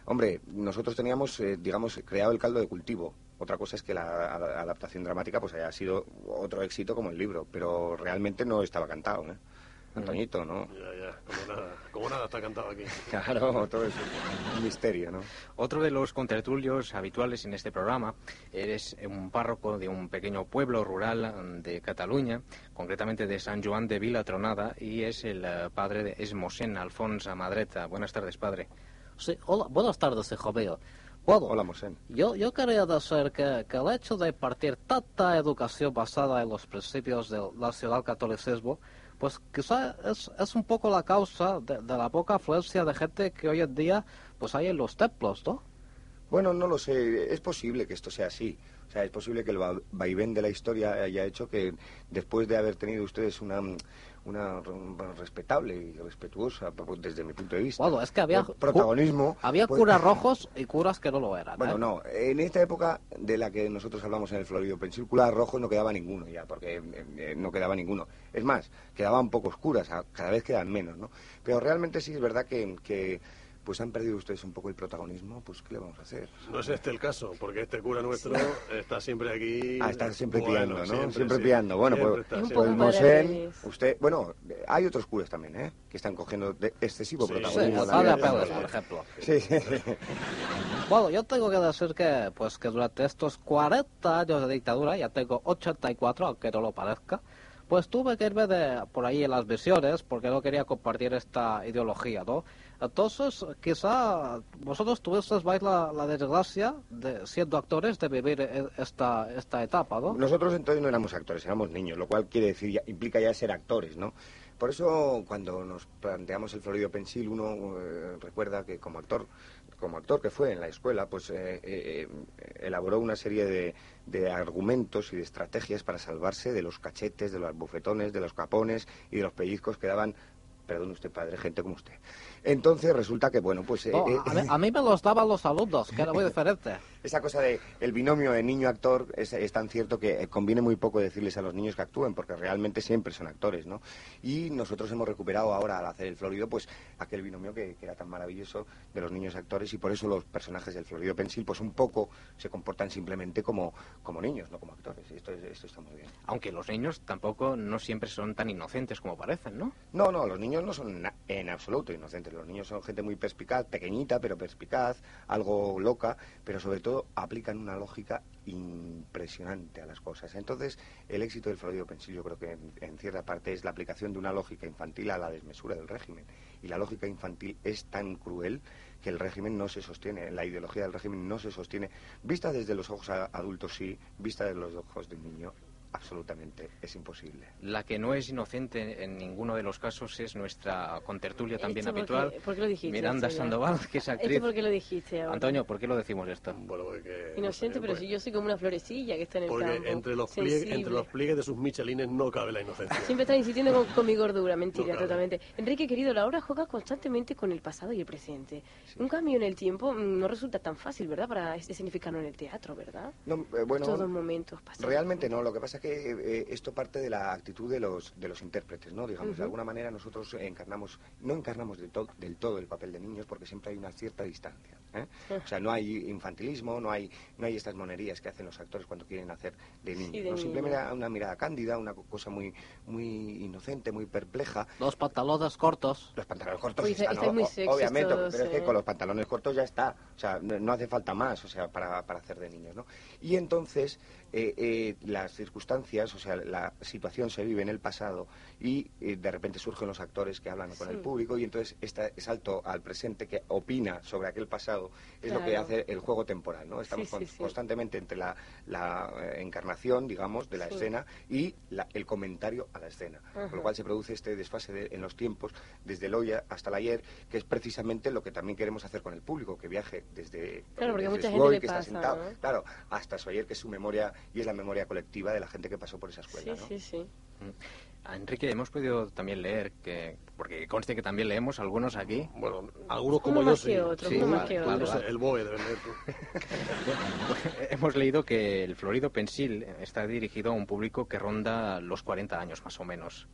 [SPEAKER 11] hombre, nosotros teníamos, eh, digamos, creado el caldo de cultivo. Otra cosa es que la a- adaptación dramática pues haya sido otro éxito como el libro, pero realmente no estaba cantado, ¿eh? Antoñito, ¿no?
[SPEAKER 5] Ya, ya, como nada, como nada está cantado aquí.
[SPEAKER 11] Claro, todo es un misterio, ¿no?
[SPEAKER 10] Otro de los contertulios habituales en este programa es un párroco de un pequeño pueblo rural mm, de Cataluña, concretamente de San Joan de Vila Tronada, y es el eh, padre de es Mosén Alfonso Madreta. Buenas tardes, padre.
[SPEAKER 2] Sí, hola, buenas tardes, hijo mío. Bueno,
[SPEAKER 11] Hola, Mosén.
[SPEAKER 2] Yo, yo quería decir que, que el hecho de partir tanta educación basada en los principios del nacional catolicismo, pues quizá es, es un poco la causa de, de la poca afluencia de gente que hoy en día pues hay en los templos, ¿no?
[SPEAKER 11] Bueno, no lo sé. Es posible que esto sea así. O sea, es posible que el va- vaivén de la historia haya hecho que después de haber tenido ustedes una, una re- respetable y respetuosa, pues, desde mi punto de vista,
[SPEAKER 2] Bueno, es que había
[SPEAKER 11] pro- protagonismo.
[SPEAKER 2] había
[SPEAKER 11] pues-
[SPEAKER 2] curas rojos y curas que no lo eran.
[SPEAKER 11] Bueno,
[SPEAKER 2] ¿eh?
[SPEAKER 11] no. En esta época de la que nosotros hablamos en el Florido Pensícula, rojo no quedaba ninguno ya, porque eh, eh, no quedaba ninguno. Es más, quedaban pocos curas, a- cada vez quedan menos, ¿no? Pero realmente sí es verdad que, que pues han perdido ustedes un poco el protagonismo, pues ¿qué le vamos a hacer?
[SPEAKER 5] No es este el caso, porque este cura nuestro está siempre aquí.
[SPEAKER 11] Ah, está siempre
[SPEAKER 5] Bueno,
[SPEAKER 11] pillando, ¿no?
[SPEAKER 5] siempre,
[SPEAKER 11] Siempre,
[SPEAKER 5] sí.
[SPEAKER 11] pillando. Bueno,
[SPEAKER 5] Siempre
[SPEAKER 11] pues,
[SPEAKER 5] está,
[SPEAKER 12] Y un
[SPEAKER 5] siempre.
[SPEAKER 12] poco
[SPEAKER 11] pues
[SPEAKER 12] para
[SPEAKER 11] Mosén,
[SPEAKER 12] revés.
[SPEAKER 11] usted... Bueno, eh, hay otros curas también, ¿eh? Que están cogiendo de- excesivo
[SPEAKER 5] Sí.
[SPEAKER 2] Sí,
[SPEAKER 11] protagonismo.
[SPEAKER 2] el
[SPEAKER 11] en la
[SPEAKER 2] padre
[SPEAKER 11] vida
[SPEAKER 2] Apeles, por ejemplo.
[SPEAKER 11] personal. Sí, sí.
[SPEAKER 2] Bueno, yo tengo que decir que, pues, que durante estos 40 años de dictadura, ya tengo 84, aunque no lo parezca, pues tuve que irme de, por ahí en las visiones porque no quería compartir esta ideología, ¿no? Entonces, quizá vosotros tuvisteis vais la, la desgracia, de, siendo actores, de vivir e- esta, esta etapa, ¿no?
[SPEAKER 11] Nosotros entonces no éramos actores, éramos niños, lo cual quiere decir, ya- implica ya ser actores, ¿no? Por eso cuando nos planteamos el Florido Pensil, uno eh, recuerda que como actor, como actor que fue en la escuela, pues eh, eh, eh, elaboró una serie de, de argumentos y de estrategias para salvarse de los cachetes, de los bufetones, de los capones y de los pellizcos que daban, perdón usted padre, gente como usted. Entonces resulta que, bueno, pues... eh,
[SPEAKER 2] No,
[SPEAKER 11] eh,
[SPEAKER 2] a, mí, a mí me los daban los alumnos, que era muy diferente.
[SPEAKER 11] esa cosa de el binomio de niño actor es, es tan cierto que eh, conviene muy poco decirles a los niños que actúen porque realmente siempre son actores no y nosotros hemos recuperado ahora al hacer el Florido pues aquel binomio que, que era tan maravilloso de los niños actores y por eso los personajes del Florido Pensil pues un poco se comportan simplemente como como niños no como actores esto es- esto está muy bien
[SPEAKER 10] Aunque los niños tampoco no siempre son tan inocentes como parecen, ¿no?
[SPEAKER 11] No, no, los niños no son na- en absoluto inocentes. Los niños son gente muy perspicaz, pequeñita pero perspicaz, algo loca, pero sobre todo aplican una lógica impresionante a las cosas. Entonces, el éxito del Florido Pensil yo creo que en, en cierta parte es la aplicación de una lógica infantil a la desmesura del régimen. Y la lógica infantil es tan cruel que el régimen no se sostiene, la ideología del régimen no se sostiene. Vista desde los ojos a- adultos sí, vista desde los ojos de un niño absolutamente es imposible.
[SPEAKER 10] La que no es inocente en ninguno de los casos es nuestra contertulia también
[SPEAKER 4] Esto porque-
[SPEAKER 10] habitual,
[SPEAKER 4] ¿por qué lo dijiste,
[SPEAKER 10] Miranda
[SPEAKER 4] Antonio?
[SPEAKER 10] Sandoval, que es actriz.
[SPEAKER 4] ¿Esto por qué lo dijiste ahora?
[SPEAKER 10] Antonio, eh, pues, ¿por qué lo decimos esto?
[SPEAKER 5] Bueno, porque, pues,
[SPEAKER 4] Inocente, pero si yo soy como una florecilla que está en el
[SPEAKER 5] Porque
[SPEAKER 4] campo.
[SPEAKER 5] entre los, pliegues,
[SPEAKER 4] sensible.
[SPEAKER 5] entre los pliegues de sus michelines no cabe la inocencia.
[SPEAKER 4] Siempre están insistiendo con, con mi gordura, mentira,
[SPEAKER 5] No cabe.
[SPEAKER 4] totalmente. Enrique, querido, la obra juega constantemente con el pasado y el presente. Un cambio en el tiempo mm, no resulta tan fácil, ¿verdad? Para escenificarlo en el teatro, ¿verdad?
[SPEAKER 11] No, eh, bueno,
[SPEAKER 4] Todos momentos pasados.
[SPEAKER 11] Realmente no, lo que pasa es que eh, esto parte de la actitud de los, de los intérpretes, ¿no? Digamos,
[SPEAKER 4] Ujú.
[SPEAKER 11] de alguna manera nosotros encarnamos, no encarnamos de to- del todo el papel de niños porque siempre hay una cierta distancia. ¿eh? O sea, no hay infantilismo, no hay, no hay estas monerías que hacen los actores cuando quieren hacer de niños.
[SPEAKER 13] de
[SPEAKER 11] ¿no?
[SPEAKER 13] niño.
[SPEAKER 11] Simplemente era una mirada cándida, una co- cosa muy, muy inocente, muy perpleja.
[SPEAKER 2] Los pantalones cortos.
[SPEAKER 11] Los pantalones cortos
[SPEAKER 4] Uy,
[SPEAKER 11] están,
[SPEAKER 4] estáis muy
[SPEAKER 11] o- o-
[SPEAKER 4] sexys
[SPEAKER 11] obviamente,
[SPEAKER 4] todos,
[SPEAKER 11] pero es
[SPEAKER 4] eh.
[SPEAKER 11] que con los pantalones cortos ya está, o sea, no, no hace falta más, o sea, para, para hacer de niños, ¿no? Y entonces eh, eh, las circunstancias, o sea, la situación se vive en el pasado y eh, de repente surgen los actores que hablan con el público y entonces este salto al presente que opina sobre aquel pasado es lo que
[SPEAKER 4] Claro.
[SPEAKER 11] hace el juego temporal, ¿no? Estamos
[SPEAKER 4] Sí, sí,
[SPEAKER 11] con-
[SPEAKER 4] sí.
[SPEAKER 11] constantemente entre la, la, eh, encarnación, digamos, de la
[SPEAKER 4] Sí.
[SPEAKER 11] escena y la- el comentario a la escena, con
[SPEAKER 4] Ajá.
[SPEAKER 11] lo cual se produce este desfase de- en los tiempos desde el hoy a- hasta el ayer, que es precisamente lo que también queremos hacer con el público, que viaje desde,
[SPEAKER 4] Claro, porque
[SPEAKER 11] desde
[SPEAKER 4] mucha
[SPEAKER 11] su
[SPEAKER 4] gente
[SPEAKER 11] hoy,
[SPEAKER 4] le
[SPEAKER 11] que está
[SPEAKER 4] pasa,
[SPEAKER 11] sentado,
[SPEAKER 4] ¿no?
[SPEAKER 11] claro, hasta su ayer, que es su memoria y es la memoria colectiva de la gente que pasó por esa
[SPEAKER 4] Sí,
[SPEAKER 11] escuela. ¿no?
[SPEAKER 4] sí, sí.
[SPEAKER 10] Enrique, hemos podido también leer, que porque conste que también leemos algunos aquí.
[SPEAKER 14] Bueno, algunos como
[SPEAKER 4] uno
[SPEAKER 14] yo
[SPEAKER 4] más
[SPEAKER 14] sí.
[SPEAKER 4] que otro,
[SPEAKER 10] Sí,
[SPEAKER 4] uno más
[SPEAKER 10] vale,
[SPEAKER 4] que
[SPEAKER 10] claro,
[SPEAKER 4] otro.
[SPEAKER 14] No sé, el BOE debe leer tú.
[SPEAKER 10] Hemos leído que el Florido Pensil está dirigido a un público que ronda los 40 años más o menos.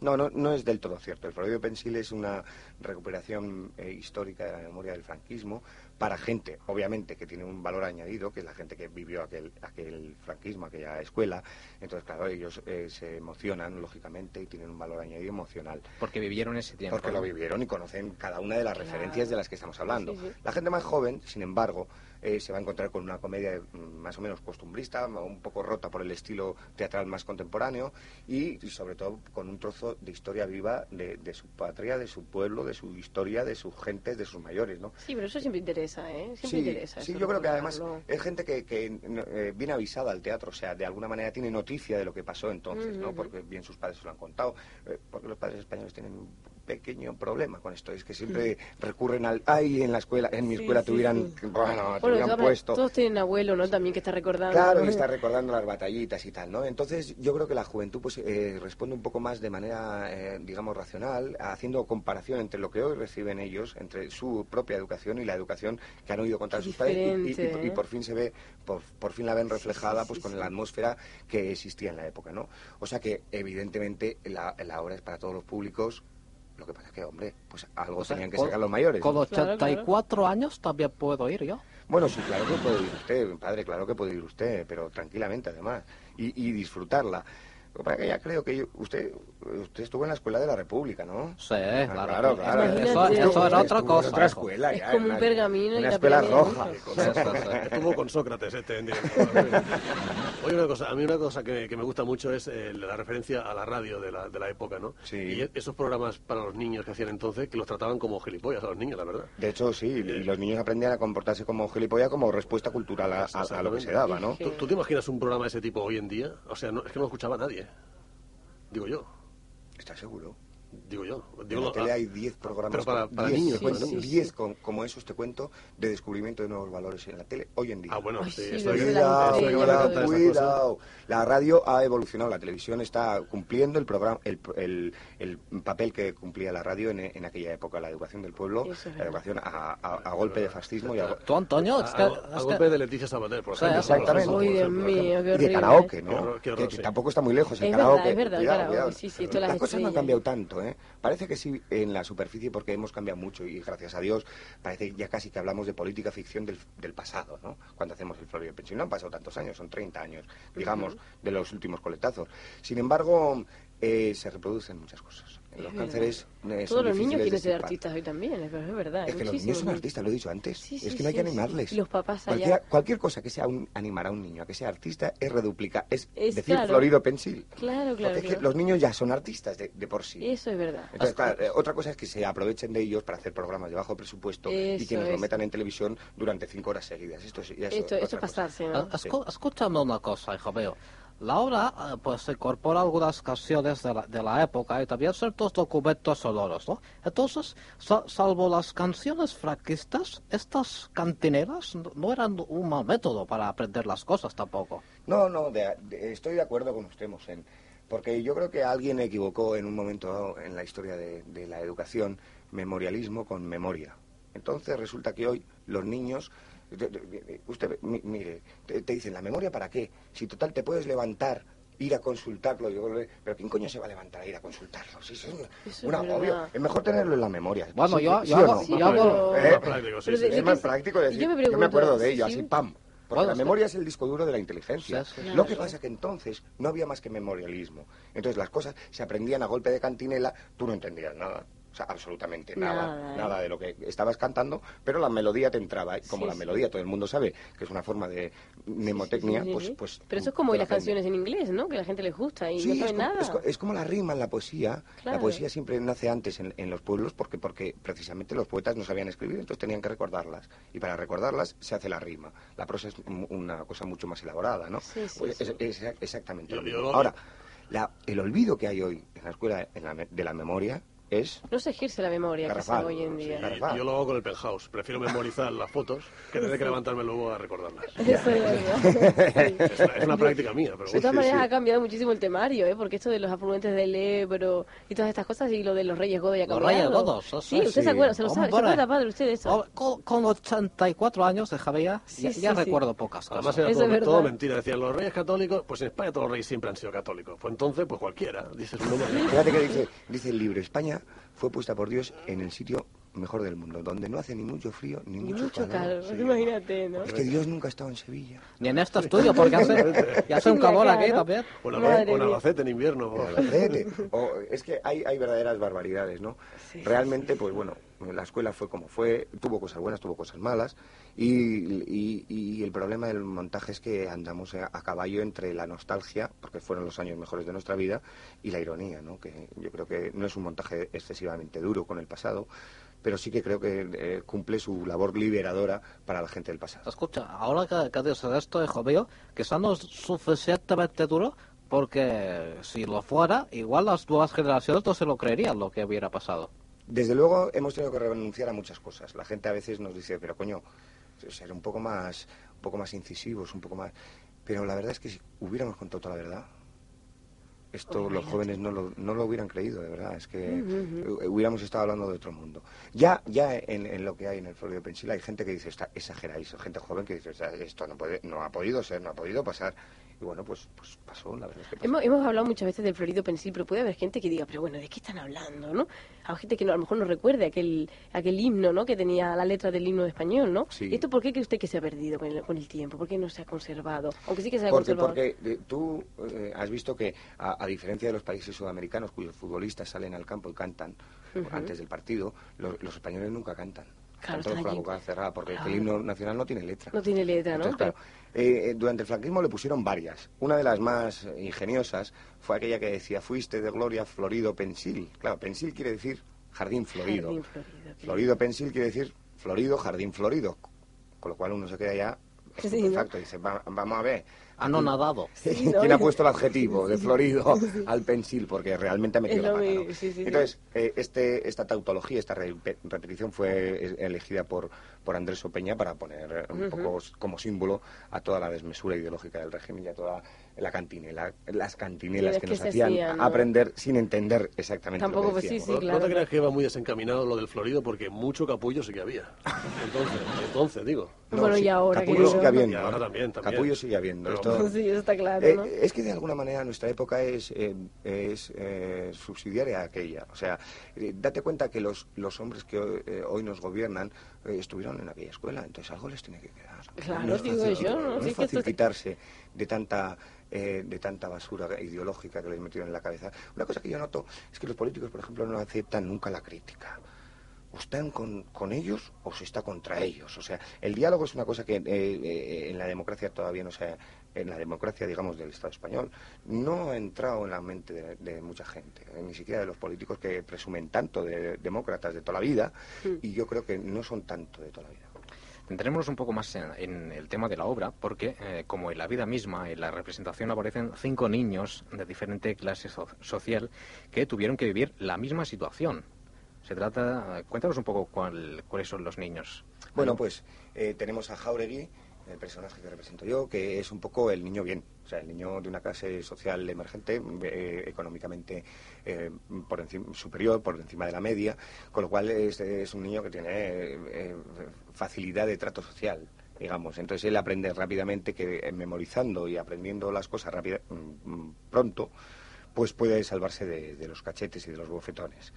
[SPEAKER 11] No, no, no es del todo cierto. El Florido Pensil es una recuperación eh, histórica de la memoria del franquismo para gente, obviamente, que tiene un valor añadido, que es la gente que vivió aquel, aquel franquismo, aquella escuela. Entonces, claro, ellos eh, se emocionan, lógicamente, y tienen un valor añadido emocional.
[SPEAKER 10] Porque vivieron ese tiempo.
[SPEAKER 11] Porque lo vivieron y conocen cada una de las
[SPEAKER 4] Claro.
[SPEAKER 11] referencias de las que estamos hablando.
[SPEAKER 4] Sí, sí.
[SPEAKER 11] La gente más joven, sin embargo, eh, se va a encontrar con una comedia mm, más o menos costumbrista, ma- un poco rota por el estilo teatral más contemporáneo y, y sobre todo con un trozo de historia viva de, de su patria, de su pueblo, de su historia, de sus gentes, de sus mayores, ¿no?
[SPEAKER 4] Sí, pero eso siempre interesa, ¿eh? Siempre interesa.
[SPEAKER 11] sí,
[SPEAKER 4] eso
[SPEAKER 11] yo creo que además eh,
[SPEAKER 4] recordarlo.
[SPEAKER 11] es gente que, que, no, eh, viene avisada al teatro, o sea, de alguna manera tiene noticia de lo que pasó entonces, ¿no?
[SPEAKER 4] Ujú.
[SPEAKER 11] Porque bien sus padres se lo han contado, eh, porque los padres españoles tienen un pequeño problema con esto, es que siempre recurren al, ay, en la escuela, en mi
[SPEAKER 4] Mm. Sí,
[SPEAKER 11] escuela
[SPEAKER 4] sí,
[SPEAKER 11] tuvieran,
[SPEAKER 4] sí.
[SPEAKER 11] bueno, te
[SPEAKER 4] Bueno,
[SPEAKER 11] hubieran
[SPEAKER 4] ahora
[SPEAKER 11] puesto...
[SPEAKER 4] todos tienen abuelo, ¿no? También que está recordando.
[SPEAKER 11] Claro, y está recordando las batallitas y tal, ¿no? Entonces, yo creo que la juventud pues eh, responde un poco más de manera, eh, digamos, racional, haciendo comparación entre lo que hoy reciben ellos, entre su propia educación y la educación que han oído contar
[SPEAKER 4] Qué
[SPEAKER 11] sus padres. y- Y, y-
[SPEAKER 4] diferente,
[SPEAKER 11] y
[SPEAKER 4] ¿eh?
[SPEAKER 11] por fin se ve, por, por fin la ven reflejada
[SPEAKER 4] sí,
[SPEAKER 11] pues
[SPEAKER 4] sí,
[SPEAKER 11] con
[SPEAKER 4] sí.
[SPEAKER 11] la atmósfera que existía en la época, ¿no? O sea que, evidentemente, la, la obra es para todos los públicos. Lo que pasa es que, hombre, pues algo
[SPEAKER 2] O sea,
[SPEAKER 11] tenían que
[SPEAKER 2] ¿eh? con-
[SPEAKER 11] sacar los mayores.
[SPEAKER 2] Con
[SPEAKER 11] ¿no?
[SPEAKER 2] 84 años también puedo ir yo.
[SPEAKER 11] Bueno, sí, claro que puede ir usted, padre, claro que puede ir usted, pero tranquilamente además, y, y disfrutarla. Lo que pasa es que ya creo que yo- usted, usted estuvo en la escuela de la República, ¿no?
[SPEAKER 2] Sí,
[SPEAKER 11] Ah,
[SPEAKER 2] claro.
[SPEAKER 4] Imagínate.
[SPEAKER 2] Eso,
[SPEAKER 11] Usted-
[SPEAKER 2] eso era
[SPEAKER 11] usted
[SPEAKER 2] otra
[SPEAKER 11] estuvo en
[SPEAKER 2] cosa.
[SPEAKER 11] otra
[SPEAKER 2] hijo.
[SPEAKER 11] escuela,
[SPEAKER 4] Es
[SPEAKER 11] ya,
[SPEAKER 4] como
[SPEAKER 11] una-
[SPEAKER 4] un pergamino y
[SPEAKER 11] una
[SPEAKER 4] la
[SPEAKER 11] escuela
[SPEAKER 4] pirámide
[SPEAKER 11] roja.
[SPEAKER 4] rusa.
[SPEAKER 2] Sí, sí, sí.
[SPEAKER 14] Estuvo con Sócrates este en directo. Oye, una cosa, a mí una cosa que, que me gusta mucho es eh, la referencia a la radio de la, de la época, ¿no?
[SPEAKER 11] Sí.
[SPEAKER 14] Y e- esos programas para los niños que hacían entonces, que los trataban como gilipollas a los niños, la verdad.
[SPEAKER 11] De hecho, sí, y los niños aprendían a comportarse como gilipollas como respuesta cultural a, a- a lo que se daba, ¿no?
[SPEAKER 14] ¿Tú, tú te imaginas un programa de ese tipo hoy en día? O sea, no- es que no lo escuchaba nadie. Digo yo,
[SPEAKER 11] ¿Estás seguro?
[SPEAKER 14] digo yo.
[SPEAKER 11] En
[SPEAKER 14] Digo,
[SPEAKER 11] la
[SPEAKER 14] lo-
[SPEAKER 11] tele
[SPEAKER 14] ah,
[SPEAKER 11] hay 10 programas.
[SPEAKER 14] pero para-
[SPEAKER 11] con-
[SPEAKER 14] para
[SPEAKER 11] 10,
[SPEAKER 14] niños,
[SPEAKER 11] te cuento,
[SPEAKER 4] sí, sí,
[SPEAKER 11] 10 con- como esos te cuento, de descubrimiento de nuevos valores en la tele hoy en día.
[SPEAKER 14] Ah, bueno,
[SPEAKER 4] Ay,
[SPEAKER 14] sí,
[SPEAKER 4] sí,
[SPEAKER 14] eso
[SPEAKER 4] lo
[SPEAKER 14] hay que-
[SPEAKER 4] de la
[SPEAKER 14] eso
[SPEAKER 11] Cuidado,
[SPEAKER 14] hay que
[SPEAKER 4] antena,
[SPEAKER 14] hablar
[SPEAKER 11] cuidado,
[SPEAKER 14] de todas esas cosas.
[SPEAKER 11] cuidado. La radio ha evolucionado, la televisión está cumpliendo el programa, el, el- el papel que cumplía la radio en, en aquella época, la educación del pueblo,
[SPEAKER 4] Eso es
[SPEAKER 11] la
[SPEAKER 4] verdad.
[SPEAKER 11] educación a, a- a golpe de fascismo y a,
[SPEAKER 2] Tú, Antonio,
[SPEAKER 14] A,
[SPEAKER 2] es que...
[SPEAKER 14] a- a
[SPEAKER 2] es
[SPEAKER 14] golpe
[SPEAKER 2] que-
[SPEAKER 14] de Leticia Sabater, por
[SPEAKER 2] Sí,
[SPEAKER 14] ejemplo.
[SPEAKER 11] exactamente.
[SPEAKER 14] por
[SPEAKER 4] Ay, Dios
[SPEAKER 14] ejemplo, por
[SPEAKER 4] mío,
[SPEAKER 14] ejemplo.
[SPEAKER 4] qué
[SPEAKER 11] y
[SPEAKER 4] horrible.
[SPEAKER 11] de karaoke,
[SPEAKER 14] Qué
[SPEAKER 11] ¿no?
[SPEAKER 14] horror, qué horror,
[SPEAKER 11] que, que
[SPEAKER 14] sí.
[SPEAKER 11] tampoco está muy lejos el
[SPEAKER 4] Es
[SPEAKER 11] karaoke.
[SPEAKER 4] verdad, es verdad, el
[SPEAKER 11] cuidado,
[SPEAKER 4] karaoke,
[SPEAKER 11] cuidado.
[SPEAKER 4] sí, sí, todas
[SPEAKER 11] las
[SPEAKER 4] las
[SPEAKER 11] cosas no han
[SPEAKER 4] estrellas.
[SPEAKER 11] cambiado tanto, ¿eh? Parece que sí en la superficie porque hemos cambiado mucho y gracias a Dios parece que ya casi que hablamos de política ficción del, del pasado, ¿no? Cuando hacemos el Florido Pensil. No han pasado tantos años, son 30 años, digamos, de los últimos coletazos. Sin embargo, eh, se reproducen muchas cosas. Los cánceres eh, son
[SPEAKER 4] Todos los niños quieren
[SPEAKER 11] difíciles de
[SPEAKER 4] ser
[SPEAKER 11] estirpar.
[SPEAKER 4] artistas hoy también, es verdad. Es, verdad,
[SPEAKER 11] Es que los niños
[SPEAKER 4] muchísimos
[SPEAKER 11] son artistas, lo he dicho antes.
[SPEAKER 4] Sí,
[SPEAKER 11] es
[SPEAKER 4] sí,
[SPEAKER 11] que no hay que
[SPEAKER 4] sí, sí.
[SPEAKER 11] animarles.
[SPEAKER 4] Y los papás allá.
[SPEAKER 11] Cualquiera- Cualquier cosa que sea un, animar a un niño a que sea artista es reduplicar, es,
[SPEAKER 4] Es
[SPEAKER 11] decir
[SPEAKER 4] claro.
[SPEAKER 11] florido pensil.
[SPEAKER 4] Claro, claro,
[SPEAKER 11] Porque es que
[SPEAKER 4] claro.
[SPEAKER 11] los niños ya son artistas de, de por sí.
[SPEAKER 4] Eso es verdad.
[SPEAKER 11] Entonces, claro, eh, otra cosa es que se aprovechen de ellos para hacer programas de bajo presupuesto y que
[SPEAKER 4] Eso,
[SPEAKER 11] nos lo
[SPEAKER 4] eso.
[SPEAKER 11] metan en televisión durante cinco horas seguidas. Esto es, ya es
[SPEAKER 4] Esto,
[SPEAKER 11] otra
[SPEAKER 4] esto es
[SPEAKER 11] cosa.
[SPEAKER 4] pasarse,
[SPEAKER 2] Ah,
[SPEAKER 4] ¿no?
[SPEAKER 2] escu- Escúchame una cosa, hijo mío. La obra eh, pues incorpora algunas canciones de la, de la época y también ciertos documentos sonoros, ¿no? Entonces, sa- salvo las canciones franquistas, estas cantineras no, no eran un mal método para aprender las cosas tampoco.
[SPEAKER 11] No, no, de- de- estoy de acuerdo con usted, Mosén. Porque yo creo que alguien equivocó en un momento dado en la historia de, de la educación memorialismo con memoria. Entonces resulta que hoy los niños... de- de- de- Usted, mi- mire, te, te dicen, ¿la memoria para qué? Si total te puedes levantar ir a consultarlo. y volver- pero ¿quién coño se va a levantar a ir a consultarlo? Si eso es un,
[SPEAKER 4] Eso
[SPEAKER 11] un
[SPEAKER 4] es verdad.
[SPEAKER 11] agobio. Es mejor tenerlo en la memoria.
[SPEAKER 2] Bueno,
[SPEAKER 11] Sí,
[SPEAKER 2] yo-
[SPEAKER 11] sí
[SPEAKER 2] yo
[SPEAKER 11] o
[SPEAKER 2] hago-
[SPEAKER 4] Oh,
[SPEAKER 11] no.
[SPEAKER 2] yo
[SPEAKER 11] Más
[SPEAKER 14] Más
[SPEAKER 2] hago-
[SPEAKER 11] práctico. ¿Eh?
[SPEAKER 14] práctico, sí,
[SPEAKER 4] Pero
[SPEAKER 14] sí,
[SPEAKER 4] de-
[SPEAKER 11] Es
[SPEAKER 14] sí.
[SPEAKER 4] yo
[SPEAKER 11] más
[SPEAKER 4] que-
[SPEAKER 11] práctico decir,
[SPEAKER 4] yo
[SPEAKER 11] yo
[SPEAKER 4] me
[SPEAKER 11] me,
[SPEAKER 4] pregunto,
[SPEAKER 11] acuerdo de ello,
[SPEAKER 4] sí.
[SPEAKER 11] así, pam. Porque
[SPEAKER 2] Bueno,
[SPEAKER 11] la
[SPEAKER 2] es que-
[SPEAKER 11] memoria es el disco duro de la inteligencia.
[SPEAKER 2] Sí, sí.
[SPEAKER 11] Lo
[SPEAKER 4] Claro.
[SPEAKER 11] que pasa que entonces no había más que memorialismo. Entonces las cosas se aprendían a golpe de cantinela, tú no entendías nada. O sea, absolutamente nada,
[SPEAKER 4] Nada,
[SPEAKER 11] nada,
[SPEAKER 4] ¿eh?
[SPEAKER 11] de lo que estabas cantando, pero la melodía te entraba. Y como
[SPEAKER 4] Sí,
[SPEAKER 11] la
[SPEAKER 4] sí.
[SPEAKER 11] melodía todo el mundo sabe que es una forma de mnemotecnia,
[SPEAKER 4] Sí, sí,
[SPEAKER 11] pues,
[SPEAKER 4] sí.
[SPEAKER 11] pues...
[SPEAKER 4] Pero eso es
[SPEAKER 11] tú
[SPEAKER 4] como
[SPEAKER 11] te la
[SPEAKER 4] las
[SPEAKER 11] aprendes.
[SPEAKER 4] canciones en inglés, ¿no? Que a la gente les gusta y
[SPEAKER 11] Sí,
[SPEAKER 4] no
[SPEAKER 11] es
[SPEAKER 4] saben
[SPEAKER 11] como,
[SPEAKER 4] nada.
[SPEAKER 11] Es, co- eh, es como la rima en la poesía.
[SPEAKER 4] Claro.
[SPEAKER 11] La poesía siempre nace antes en, en los pueblos porque, porque precisamente los poetas no sabían escribir, entonces tenían que recordarlas. Y para recordarlas se hace la rima. La prosa es mu- una cosa mucho más elaborada, ¿no?
[SPEAKER 4] Sí, sí,
[SPEAKER 11] Pues
[SPEAKER 4] sí.
[SPEAKER 11] es- es exa- exactamente.
[SPEAKER 14] Yo-
[SPEAKER 11] lo
[SPEAKER 14] yo
[SPEAKER 11] mismo.
[SPEAKER 14] lo-
[SPEAKER 11] Ahora, la- el olvido que hay hoy en la escuela en la me- de la memoria es...
[SPEAKER 4] No se ejerce la memoria que se
[SPEAKER 11] Garrafal,
[SPEAKER 4] hace hoy en
[SPEAKER 11] sí,
[SPEAKER 4] día.
[SPEAKER 11] claro.
[SPEAKER 14] Y Yo lo hago con el penthouse. Prefiero memorizar las fotos que tener que levantarme luego a recordarlas.
[SPEAKER 4] Eso es verdad. Sí.
[SPEAKER 14] Es una, es una práctica mía, pero
[SPEAKER 4] De
[SPEAKER 14] bueno.
[SPEAKER 4] todas
[SPEAKER 11] sí,
[SPEAKER 4] maneras
[SPEAKER 11] sí.
[SPEAKER 4] ha cambiado muchísimo el temario, ¿eh? Porque esto de los afluentes del Ebro y todas estas cosas y lo de los Reyes Godos ya ha
[SPEAKER 2] Los
[SPEAKER 4] cambiado.
[SPEAKER 2] Reyes Godos, eso
[SPEAKER 4] Sí, usted
[SPEAKER 11] sí.
[SPEAKER 4] se acuerda, se lo sabe. ¿Se
[SPEAKER 2] Hombre.
[SPEAKER 4] acuerda, padre, usted de eso?
[SPEAKER 2] Ahora, Oh, Con, con 84 años de Javier,
[SPEAKER 4] Sí,
[SPEAKER 2] ya,
[SPEAKER 4] sí,
[SPEAKER 2] ya
[SPEAKER 4] sí.
[SPEAKER 2] recuerdo pocas cosas.
[SPEAKER 14] Además era
[SPEAKER 4] Eso
[SPEAKER 14] todo,
[SPEAKER 4] es verdad.
[SPEAKER 14] todo mentira. Decían los reyes católicos, pues en España todos los reyes siempre han sido católicos. Pues entonces, pues cualquiera, dices un nombre.
[SPEAKER 11] Fíjate que dice, dice el libro, España fue puesta por Dios en el sitio mejor del mundo, donde no hace ni mucho frío ni
[SPEAKER 4] Y
[SPEAKER 11] mucho,
[SPEAKER 4] mucho calor,
[SPEAKER 11] Sí.
[SPEAKER 4] imagínate, ¿no?
[SPEAKER 11] Es que Dios nunca ha estado en Sevilla.
[SPEAKER 2] Ni en este estudio, porque hace, y hace un
[SPEAKER 4] Sí, acá,
[SPEAKER 2] calor aquí
[SPEAKER 4] ¿no?
[SPEAKER 2] también.
[SPEAKER 14] O en
[SPEAKER 4] Madre
[SPEAKER 14] Alba- o en
[SPEAKER 4] mía.
[SPEAKER 14] Albacete en invierno.
[SPEAKER 11] O Albacete, o- es que hay, hay verdaderas barbaridades, ¿no? Realmente, pues bueno, la escuela fue como fue, tuvo cosas buenas, tuvo cosas malas, y, y- y el problema del montaje es que andamos a, a caballo entre la nostalgia, porque fueron los años mejores de nuestra vida, y la ironía, ¿no? Que yo creo que no es un montaje excesivamente duro con el pasado, pero sí que creo que eh, cumple su labor liberadora para la gente del pasado.
[SPEAKER 2] Escucha, ahora que, que dices esto, hijo mío, quizá no es suficientemente duro, porque si lo fuera, igual las nuevas generaciones no se lo creerían lo que hubiera pasado.
[SPEAKER 11] Desde luego hemos tenido que renunciar a muchas cosas. La gente a veces nos dice, pero coño, ser un poco más, un poco más incisivos, un poco más. Pero la verdad es que si hubiéramos contado toda la verdad, esto los jóvenes no lo, no lo hubieran creído, de verdad. Es que eh, hubiéramos estado hablando de otro mundo. Ya, ya en, en lo que hay en el Florido Pensil hay gente que dice, está exageráis, gente joven que dice, "Está- esto no, puede, no ha podido ser, no ha podido pasar. Y bueno, pues, pues pasó, la verdad es que pasó.
[SPEAKER 4] Hemos, hemos hablado muchas veces del Florido Pensil, pero puede haber gente que diga, pero bueno, ¿de qué están hablando, no? Hay gente que no- a lo mejor no recuerde aquel, aquel himno, ¿no? Que tenía la letra del himno de español, ¿no?
[SPEAKER 11] Sí.
[SPEAKER 4] ¿Y esto por qué cree usted que se ha perdido con el, con el tiempo? ¿Por qué no se ha conservado? Aunque sí que se ha
[SPEAKER 11] Porque,
[SPEAKER 4] conservado.
[SPEAKER 11] porque eh, tú eh, has visto que, a, a diferencia de los países sudamericanos cuyos futbolistas salen al campo y cantan antes del partido, lo- los españoles nunca cantan.
[SPEAKER 4] Claro,
[SPEAKER 11] Cantan
[SPEAKER 4] están
[SPEAKER 11] con la
[SPEAKER 4] aquí.
[SPEAKER 11] boca cerrada porque
[SPEAKER 4] Claro.
[SPEAKER 11] el himno nacional no tiene letra.
[SPEAKER 4] No tiene letra, ¿no?
[SPEAKER 11] Entonces, claro, eh, eh, durante el franquismo le pusieron varias. Una de las más eh, ingeniosas fue aquella que decía, fuiste de gloria florido pensil. Claro, pensil quiere decir jardín florido.
[SPEAKER 4] Jardín florido, qué
[SPEAKER 11] Florido pensil quiere decir florido, jardín florido. Con lo cual uno se queda ya
[SPEAKER 4] Sí, ¿no?
[SPEAKER 11] estupefacto. Dice, "Va- vamos a ver.
[SPEAKER 2] Han nadado.
[SPEAKER 4] Sí, ¿no?
[SPEAKER 11] ¿Quién ha puesto el adjetivo de florido al pensil? Porque realmente ha metido
[SPEAKER 4] Es
[SPEAKER 11] la
[SPEAKER 4] lo
[SPEAKER 11] pata,
[SPEAKER 4] mismo,
[SPEAKER 11] ¿no?
[SPEAKER 4] sí, sí, sí.
[SPEAKER 11] Entonces, eh, este, esta tautología, esta re- repetición fue eh, elegida por, por Andrés Opeña para poner eh, un poco s- como símbolo a toda la desmesura ideológica del régimen y a toda la cantinela, las cantinelas
[SPEAKER 4] Sí, es
[SPEAKER 11] que,
[SPEAKER 4] que
[SPEAKER 11] nos
[SPEAKER 4] se
[SPEAKER 11] hacían
[SPEAKER 4] hacían, ¿no?
[SPEAKER 11] aprender sin entender exactamente
[SPEAKER 4] Tampoco,
[SPEAKER 11] lo que
[SPEAKER 4] pues, sí,
[SPEAKER 11] decíamos.
[SPEAKER 14] No-
[SPEAKER 4] sí. claro.
[SPEAKER 14] No te creas que iba muy desencaminado lo del Florido porque mucho capullo sí que había. Entonces, entonces digo.
[SPEAKER 11] No,
[SPEAKER 4] bueno,
[SPEAKER 11] sí,
[SPEAKER 4] y ahora que
[SPEAKER 11] Capullo
[SPEAKER 4] yo-
[SPEAKER 11] sigue habiendo.
[SPEAKER 14] Y ahora
[SPEAKER 11] ¿eh?
[SPEAKER 14] también, también.
[SPEAKER 11] Capullo sigue habiendo.
[SPEAKER 14] Pero-
[SPEAKER 11] Esto-
[SPEAKER 4] Sí, eso está claro,
[SPEAKER 11] Eh,
[SPEAKER 4] ¿no?
[SPEAKER 11] es que de alguna manera nuestra época es, eh, es eh, subsidiaria a aquella. O sea, eh, date cuenta que los, los hombres que hoy, eh, hoy nos gobiernan eh, estuvieron en aquella escuela, entonces algo les tiene que quedar.
[SPEAKER 4] Claro,
[SPEAKER 11] no es
[SPEAKER 4] digo
[SPEAKER 11] fácil,
[SPEAKER 4] yo, ¿no? Sí,
[SPEAKER 11] no es
[SPEAKER 4] que esto
[SPEAKER 11] fácil
[SPEAKER 4] se-
[SPEAKER 11] quitarse de tanta, eh, de tanta basura ideológica que les metieron en la cabeza. Una cosa que yo noto es que los políticos, por ejemplo, no aceptan nunca la crítica o están con, con ellos o se está contra ellos. O sea, el diálogo es una cosa que eh, eh, en la democracia todavía no se ha- en la democracia, digamos, del Estado español, no ha entrado en la mente de, de mucha gente, eh, ni siquiera de los políticos que presumen tanto de demócratas de toda la vida,
[SPEAKER 4] Mm.
[SPEAKER 11] y yo creo que no son tanto de toda la vida.
[SPEAKER 10] Centrémonos un poco más en, en el tema de la obra, porque eh, como en la vida misma, en la representación aparecen cinco niños de diferente clase so- social que tuvieron que vivir la misma situación. Se trata, cuéntanos un poco cuál- cuáles son los niños.
[SPEAKER 11] Bueno, pues eh, tenemos a Jauregui, el personaje que represento yo, que es un poco el niño bien, o sea, el niño de una clase social emergente, eh, económicamente eh, por encima, superior, por encima de la media, con lo cual es, es un niño que tiene eh, eh, facilidad de trato social. digamos. Entonces él aprende rápidamente que eh, memorizando y aprendiendo las cosas rápida, mm, mm, pronto, pues puede salvarse de, de los cachetes y de los bofetones.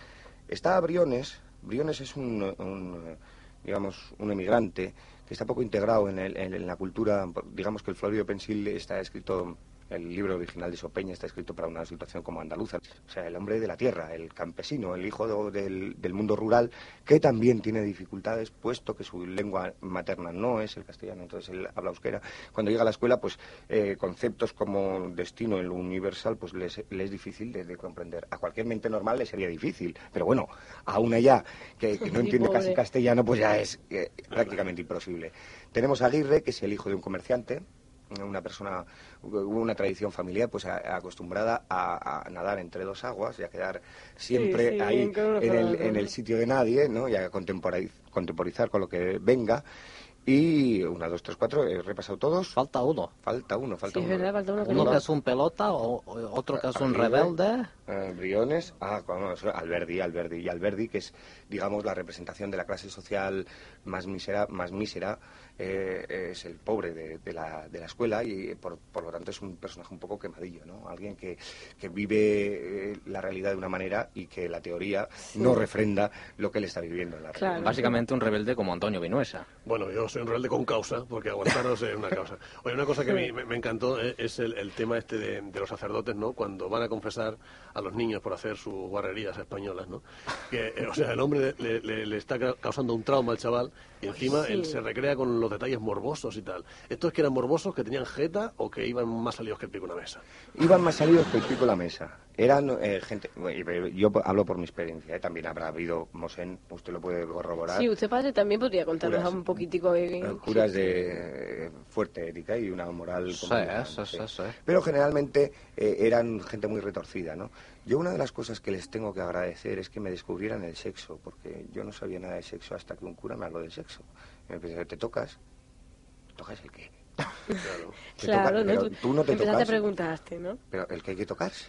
[SPEAKER 11] Está Briones. Briones es un, un, eh, digamos, un emigrante que está poco integrado en, el- en- en la cultura. Digamos que el Florido Pensil está escrito, el libro original de Sopeña está escrito para una situación como andaluza. O sea, el hombre de la tierra, el campesino, el hijo do- del, del mundo rural, que también tiene dificultades, puesto que su lengua materna no es el castellano, entonces él habla euskera. Cuando llega a la escuela, pues eh, conceptos como destino, el universal, pues le es- le es difícil de, de comprender. A cualquier mente normal le sería difícil, pero bueno, a una ya que, que no
[SPEAKER 4] Sí,
[SPEAKER 11] entiende
[SPEAKER 4] pobre.
[SPEAKER 11] casi castellano, pues ya es eh, prácticamente imposible. Tenemos a Aguirre, que es el hijo de un comerciante, una persona, hubo una tradición familiar pues a- acostumbrada a, a nadar entre dos aguas y a quedar siempre
[SPEAKER 4] sí,
[SPEAKER 11] ahí
[SPEAKER 4] con una
[SPEAKER 11] en el,
[SPEAKER 4] palabra.
[SPEAKER 11] en el sitio de nadie, ¿no? Y a contemporiz- contemporizar con lo que venga. Y una, dos, tres, cuatro, he repasado todos.
[SPEAKER 2] Falta uno.
[SPEAKER 11] Falta uno, falta
[SPEAKER 4] Sí, es
[SPEAKER 11] uno.
[SPEAKER 4] verdad, falta uno que
[SPEAKER 2] Uno
[SPEAKER 4] no.
[SPEAKER 2] que es un pelota, o, o- otro que es un
[SPEAKER 11] Aguirre.
[SPEAKER 2] rebelde.
[SPEAKER 11] Eh, Briones, ah, bueno, eso, Alberdi, Alberdi. Y Alberdi, que es, digamos, la representación de la clase social más mísera, más mísera eh, es el pobre de, de la, de la escuela y, eh, por, por lo tanto, es un personaje un poco quemadillo, ¿no? Alguien que, que vive eh, la realidad de una manera y que la teoría no refrenda lo que él está viviendo en la
[SPEAKER 4] Claro.
[SPEAKER 11] realidad.
[SPEAKER 10] Básicamente un rebelde como Antonio Vinuesa.
[SPEAKER 14] Bueno, yo soy un rebelde con causa, porque aguantaros es una causa. Oye, una cosa que me, me- me encantó eh, es el, el tema este de, de los sacerdotes, ¿no? Cuando van a confesar a los niños por hacer sus guarrerías españolas, ¿no? Que, eh, o sea, el hombre le, le- le está ca- causando un trauma al chaval y encima
[SPEAKER 4] sí.
[SPEAKER 14] él se recrea con los detalles morbosos y tal. ¿Estos que eran morbosos, que tenían jeta o que iban más salidos que el pico de una mesa?
[SPEAKER 11] Iban más salidos que el pico de la mesa. Eran eh, gente. bueno, Yo hablo por mi experiencia, ¿eh? también habrá habido, Mosén, usted lo puede corroborar.
[SPEAKER 4] Sí, usted padre también podría contarnos
[SPEAKER 11] Curas.
[SPEAKER 4] un poquitico. eh,
[SPEAKER 11] Eh, curas de eh, fuerte ética y una moral
[SPEAKER 10] Sí,
[SPEAKER 11] complicada,
[SPEAKER 10] sí,
[SPEAKER 11] ¿no?
[SPEAKER 10] sí, sí.
[SPEAKER 11] pero generalmente eh, eran gente muy retorcida no yo una de las cosas que les tengo que agradecer es que me descubrieran el sexo porque yo no sabía nada de sexo hasta que un cura me habló del sexo y me pensé, te tocas tocas el qué
[SPEAKER 14] Claro.
[SPEAKER 11] Te
[SPEAKER 4] Claro,
[SPEAKER 11] tocan,
[SPEAKER 4] ¿no?
[SPEAKER 11] pero tú no te
[SPEAKER 4] empezaste
[SPEAKER 11] tocas.
[SPEAKER 4] a preguntarte, ¿no?
[SPEAKER 11] pero el que hay que tocarse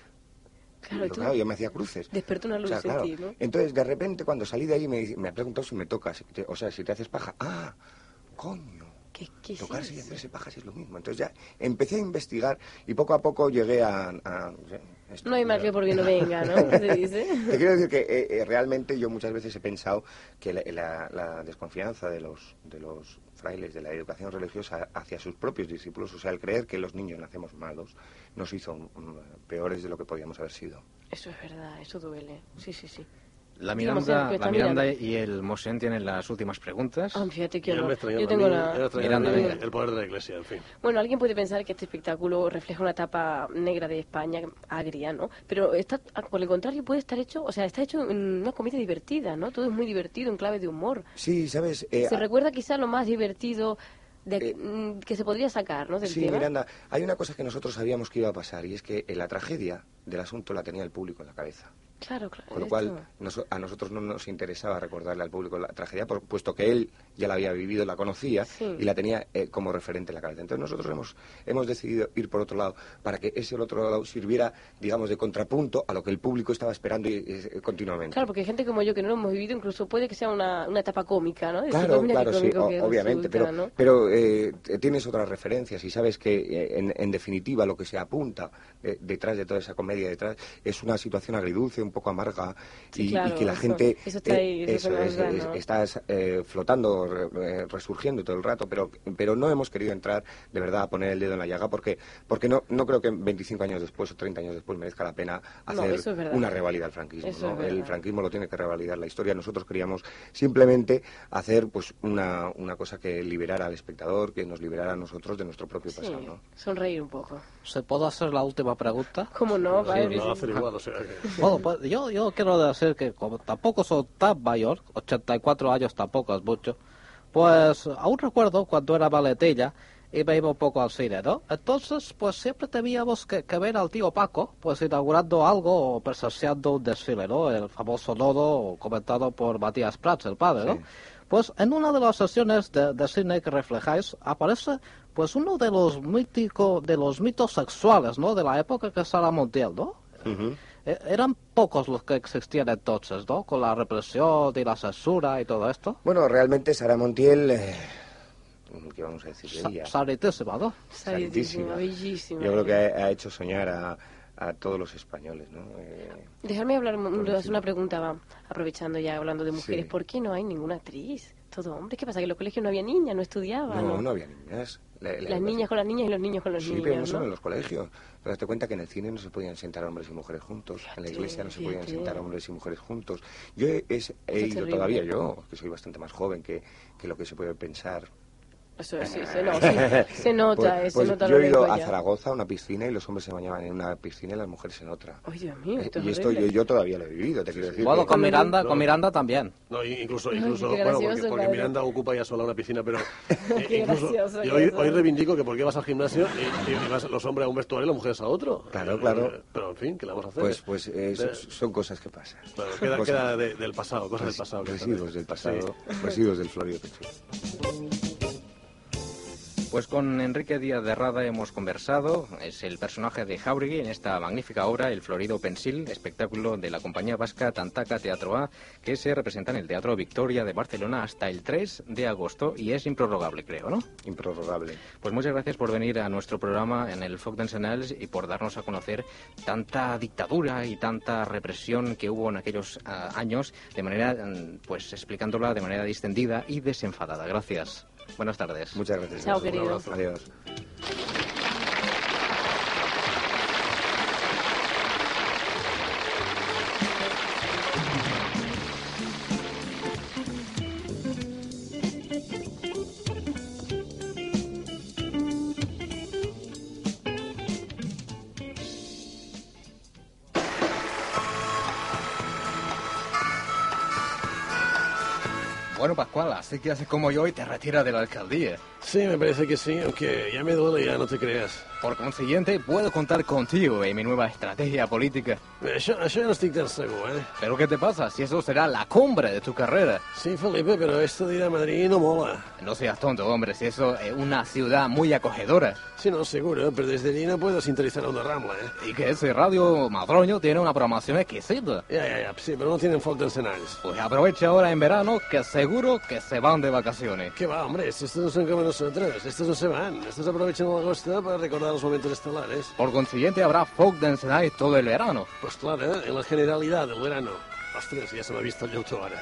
[SPEAKER 4] Claro,
[SPEAKER 11] yo,
[SPEAKER 4] tú.
[SPEAKER 11] claro, yo me hacía cruces.
[SPEAKER 4] Despertó una luz en ti, ¿no?
[SPEAKER 11] Entonces, de repente, cuando salí de ahí, me, dice- me ha preguntado si me tocas. Te- O sea, si te haces paja. Ah, coño.
[SPEAKER 4] ¿Qué, qué es
[SPEAKER 11] Tocarse y
[SPEAKER 4] eso?
[SPEAKER 11] hacerse pajas es lo mismo. Entonces ya empecé a investigar y poco a poco llegué a... a- esto.
[SPEAKER 4] No hay mal que porque no venga, ¿no? ¿Qué se dice?
[SPEAKER 11] Te quiero decir que eh, eh, realmente yo muchas veces he pensado que la, la- la desconfianza de los, de los frailes de la educación religiosa hacia sus propios discípulos, o sea, el creer que los niños nacemos malos, nos hizo mm, peores de lo que podíamos haber sido.
[SPEAKER 4] Eso es verdad, eso duele. Sí, sí, sí.
[SPEAKER 10] La
[SPEAKER 4] Digamos,
[SPEAKER 10] Miranda,
[SPEAKER 4] que
[SPEAKER 10] la
[SPEAKER 4] está
[SPEAKER 10] Miranda
[SPEAKER 4] mirando.
[SPEAKER 10] y el Mosén tienen las últimas preguntas.
[SPEAKER 4] Ah, fíjate que
[SPEAKER 14] Yo
[SPEAKER 4] no.
[SPEAKER 14] me extrañaba
[SPEAKER 4] Yo
[SPEAKER 14] a
[SPEAKER 4] tengo
[SPEAKER 14] mí,
[SPEAKER 4] la...
[SPEAKER 14] yo me extrañaba a mí
[SPEAKER 10] Miranda,
[SPEAKER 14] el, el poder de la iglesia, en fin.
[SPEAKER 4] Bueno, alguien puede pensar que este espectáculo refleja una etapa negra de España, agria, ¿no? Pero está, ah, por el contrario, puede estar hecho, o sea, está hecho en una comedia divertida, ¿no? Todo es muy divertido, en clave de humor.
[SPEAKER 11] Sí, ¿sabes? Eh,
[SPEAKER 4] se recuerda quizá lo más divertido de,
[SPEAKER 11] Eh,
[SPEAKER 4] mm, que se podría sacar, ¿no? Del
[SPEAKER 11] Sí,
[SPEAKER 4] tema.
[SPEAKER 11] Miranda, hay una cosa que nosotros sabíamos que iba a pasar y es que eh, la tragedia del asunto la tenía el público en la cabeza.
[SPEAKER 4] Claro, claro.
[SPEAKER 11] Con lo
[SPEAKER 4] esto-
[SPEAKER 11] cual, noso- a nosotros no nos interesaba recordarle al público la tragedia, por- puesto que él ya la había vivido, la conocía
[SPEAKER 4] Sí.
[SPEAKER 11] y la tenía eh, como referente en la cabeza. Entonces nosotros hemos, hemos decidido ir por otro lado, para que ese otro lado sirviera, digamos, de contrapunto a lo que el público estaba esperando y- y- eh, continuamente.
[SPEAKER 4] Claro, porque gente como yo que no lo hemos vivido, incluso puede que sea una, una etapa cómica, ¿no? Es decir,
[SPEAKER 11] Claro,
[SPEAKER 4] mira qué
[SPEAKER 11] claro, sí,
[SPEAKER 4] cómico
[SPEAKER 11] o-
[SPEAKER 4] que
[SPEAKER 11] obviamente,
[SPEAKER 4] resulta,
[SPEAKER 11] pero,
[SPEAKER 4] ¿no?
[SPEAKER 11] pero eh, t- tienes otras referencias y sabes que eh, en, en definitiva lo que se apunta eh, detrás de toda esa comedia detrás es una situación agridulce, un poco amarga
[SPEAKER 4] Sí,
[SPEAKER 11] y, y
[SPEAKER 4] claro,
[SPEAKER 11] que la
[SPEAKER 4] eso-
[SPEAKER 11] gente eh,
[SPEAKER 4] eso está ahí, eso se nos da, ¿no?
[SPEAKER 11] estás eh, flotando, re- eh, resurgiendo todo el rato, pero, pero no hemos querido entrar de verdad a poner el dedo en la llaga porque, porque no, no creo que 25 años después o 30 años después merezca la pena
[SPEAKER 4] No,
[SPEAKER 11] hacer
[SPEAKER 4] eso es verdad.
[SPEAKER 11] una revalida al franquismo.
[SPEAKER 4] Eso
[SPEAKER 11] ¿no?
[SPEAKER 4] es verdad.
[SPEAKER 11] El franquismo lo tiene que revalidar la historia. Nosotros queríamos simplemente hacer pues una, una cosa que liberara al espectador, que nos liberara a nosotros de nuestro propio
[SPEAKER 4] Sí,
[SPEAKER 11] pasado. ¿no?
[SPEAKER 4] sonreír un poco.
[SPEAKER 2] ¿Se puede hacer la última pregunta?
[SPEAKER 4] ¿Cómo no? padre?
[SPEAKER 14] Lo hacen igual, o sea que...
[SPEAKER 2] Bueno, pues yo, yo quiero decir que como tampoco soy tan mayor, 84 años tampoco es mucho, pues aún recuerdo cuando era maletilla y me iba un poco al cine, ¿no? Entonces, pues siempre teníamos que, que ver al tío Paco, pues inaugurando algo o presenciando un desfile, ¿no? El famoso nodo comentado por Matías Prats, el padre, ¿no? Pues en una de las sesiones de, de cine que reflejáis aparece pues uno de los mítico, de los mitos sexuales, ¿no? De la época que es Sara Montiel, ¿no? Eh, Eran pocos los que existían entonces, ¿no? Con la represión y la censura y todo esto.
[SPEAKER 11] Bueno, realmente Sara Montiel eh, ¿Qué vamos a decir de
[SPEAKER 15] Sa-
[SPEAKER 11] ella?
[SPEAKER 15] Sarete cebada.
[SPEAKER 11] Salitísima.
[SPEAKER 4] Salitísima, bellísima.
[SPEAKER 11] Yo creo que ha, ha hecho soñar a, a todos los españoles, ¿no? Eh,
[SPEAKER 4] Dejarme hablar, un-
[SPEAKER 11] Por
[SPEAKER 4] hacer
[SPEAKER 11] encima.
[SPEAKER 4] una pregunta, va, aprovechando ya hablando de mujeres.
[SPEAKER 11] Sí.
[SPEAKER 4] ¿Por qué no hay ninguna actriz? Todo hombre, ¿qué pasa? Que en los colegios no había niñas, no estudiaban.
[SPEAKER 11] no,
[SPEAKER 4] ¿no?
[SPEAKER 11] no había niñas. La- la
[SPEAKER 4] Las
[SPEAKER 11] educación-
[SPEAKER 4] niñas con las niñas y los niños con los
[SPEAKER 11] Sí,
[SPEAKER 4] niños.
[SPEAKER 11] pero no solo
[SPEAKER 4] Pues ¿no?
[SPEAKER 11] en los colegios. Pero date cuenta que en el cine no se podían sentar hombres y mujeres juntos. en la
[SPEAKER 4] Fíjate,
[SPEAKER 11] iglesia no se podían
[SPEAKER 4] fíjate.
[SPEAKER 11] sentar hombres y mujeres juntos. Yo he, es- he
[SPEAKER 4] Eso es
[SPEAKER 11] ido
[SPEAKER 4] terrible.
[SPEAKER 11] todavía, yo, que soy bastante más joven que, que lo que se puede pensar.
[SPEAKER 4] Eso sí, se no- se- se nota, eh,
[SPEAKER 11] Pues-
[SPEAKER 4] se
[SPEAKER 11] pues
[SPEAKER 4] nota
[SPEAKER 11] yo
[SPEAKER 4] lo
[SPEAKER 11] he ido
[SPEAKER 4] lejos
[SPEAKER 11] a
[SPEAKER 4] ya.
[SPEAKER 11] Zaragoza a una piscina y los hombres se bañaban en una piscina y las mujeres en otra.
[SPEAKER 4] Ay, Dios mío,
[SPEAKER 11] Eh,
[SPEAKER 4] esto es
[SPEAKER 11] y esto yo,
[SPEAKER 4] horrible.
[SPEAKER 11] yo todavía lo he vivido, te quiero decir.
[SPEAKER 15] Bueno,
[SPEAKER 11] que-
[SPEAKER 15] con Miranda,
[SPEAKER 5] No.
[SPEAKER 15] con Miranda también.
[SPEAKER 5] No, i- incluso,
[SPEAKER 4] Ay,
[SPEAKER 5] incluso
[SPEAKER 4] qué
[SPEAKER 5] bueno, porque,
[SPEAKER 4] gracioso,
[SPEAKER 5] porque
[SPEAKER 4] padre.
[SPEAKER 5] Miranda ocupa ya sola una piscina, pero eh,
[SPEAKER 4] Qué
[SPEAKER 5] incluso
[SPEAKER 4] gracioso,
[SPEAKER 5] yo
[SPEAKER 4] qué
[SPEAKER 5] hoy,
[SPEAKER 4] gracioso.
[SPEAKER 5] hoy reivindico que por qué vas al gimnasio y, y- y vas los hombres a un vestuario y las mujeres a otro.
[SPEAKER 11] Claro,
[SPEAKER 5] Eh,
[SPEAKER 11] claro.
[SPEAKER 5] eh, Pero en fin, ¿qué le vamos a hacer?
[SPEAKER 11] Pues, pues eh,
[SPEAKER 5] Eh,
[SPEAKER 11] son, son cosas que pasan.
[SPEAKER 5] bueno, queda,
[SPEAKER 11] Cosas- Pues,
[SPEAKER 5] queda de- del pasado, cosas del pasado. que están
[SPEAKER 11] Residuos
[SPEAKER 5] ahí.
[SPEAKER 11] pues del pasado, residuos del Florio Pechuga.
[SPEAKER 10] Pues con Enrique Díaz de Rada hemos conversado. Es el personaje de Jauregui en esta magnífica obra, El Florido Pensil, espectáculo de la compañía vasca Tantaca Teatro A, que se representa en el Teatro Victoria de Barcelona hasta el 3 de agosto y es improrrogable, creo, ¿no?
[SPEAKER 11] Improrrogable.
[SPEAKER 10] Pues muchas gracias por venir a nuestro programa en el Foc Senals y por darnos a conocer tanta dictadura y tanta represión que hubo en aquellos ah, años, de manera, mm, pues explicándola de manera distendida y desenfadada. Gracias. Buenas tardes.
[SPEAKER 11] Muchas gracias.
[SPEAKER 4] Chao,
[SPEAKER 11] Un
[SPEAKER 4] querido.
[SPEAKER 11] abrazo. Adiós.
[SPEAKER 2] Bueno, Pascual, así que haces como yo y te retiras de la alcaldía.
[SPEAKER 5] Sí, me parece que sí, aunque ya me duele, ya no te creas.
[SPEAKER 2] Por consiguiente, puedo contar contigo en mi nueva estrategia política.
[SPEAKER 5] Eh, Yo, yo no estoy tan seguro, ¿eh?
[SPEAKER 2] Pero ¿qué te pasa si eso será la cumbre de tu carrera?
[SPEAKER 5] Sí, Felipe, pero esto de ir a Madrid no mola.
[SPEAKER 2] No seas tonto, hombre, si eso es una ciudad muy acogedora.
[SPEAKER 5] Sí, no, seguro, eh, pero desde allí no puedo sintonizar una rambla, ¿eh?
[SPEAKER 2] Y que ese radio madroño tiene una programación exquisita.
[SPEAKER 5] Ya, ya, ya, sí, pero no tienen falta en escenarios.
[SPEAKER 2] Pues aprovecha ahora en verano que seguro que se van de vacaciones.
[SPEAKER 5] ¿Qué va, hombre? Si estos no son como nosotros, estos no se van. Estos aprovechan agosto para recordar los momentos estelares.
[SPEAKER 2] Por consiguiente habrá folk dance night todo el verano.
[SPEAKER 5] Pues claro, en la generalidad del verano. Ostras, ya se me ha visto el auto ahora.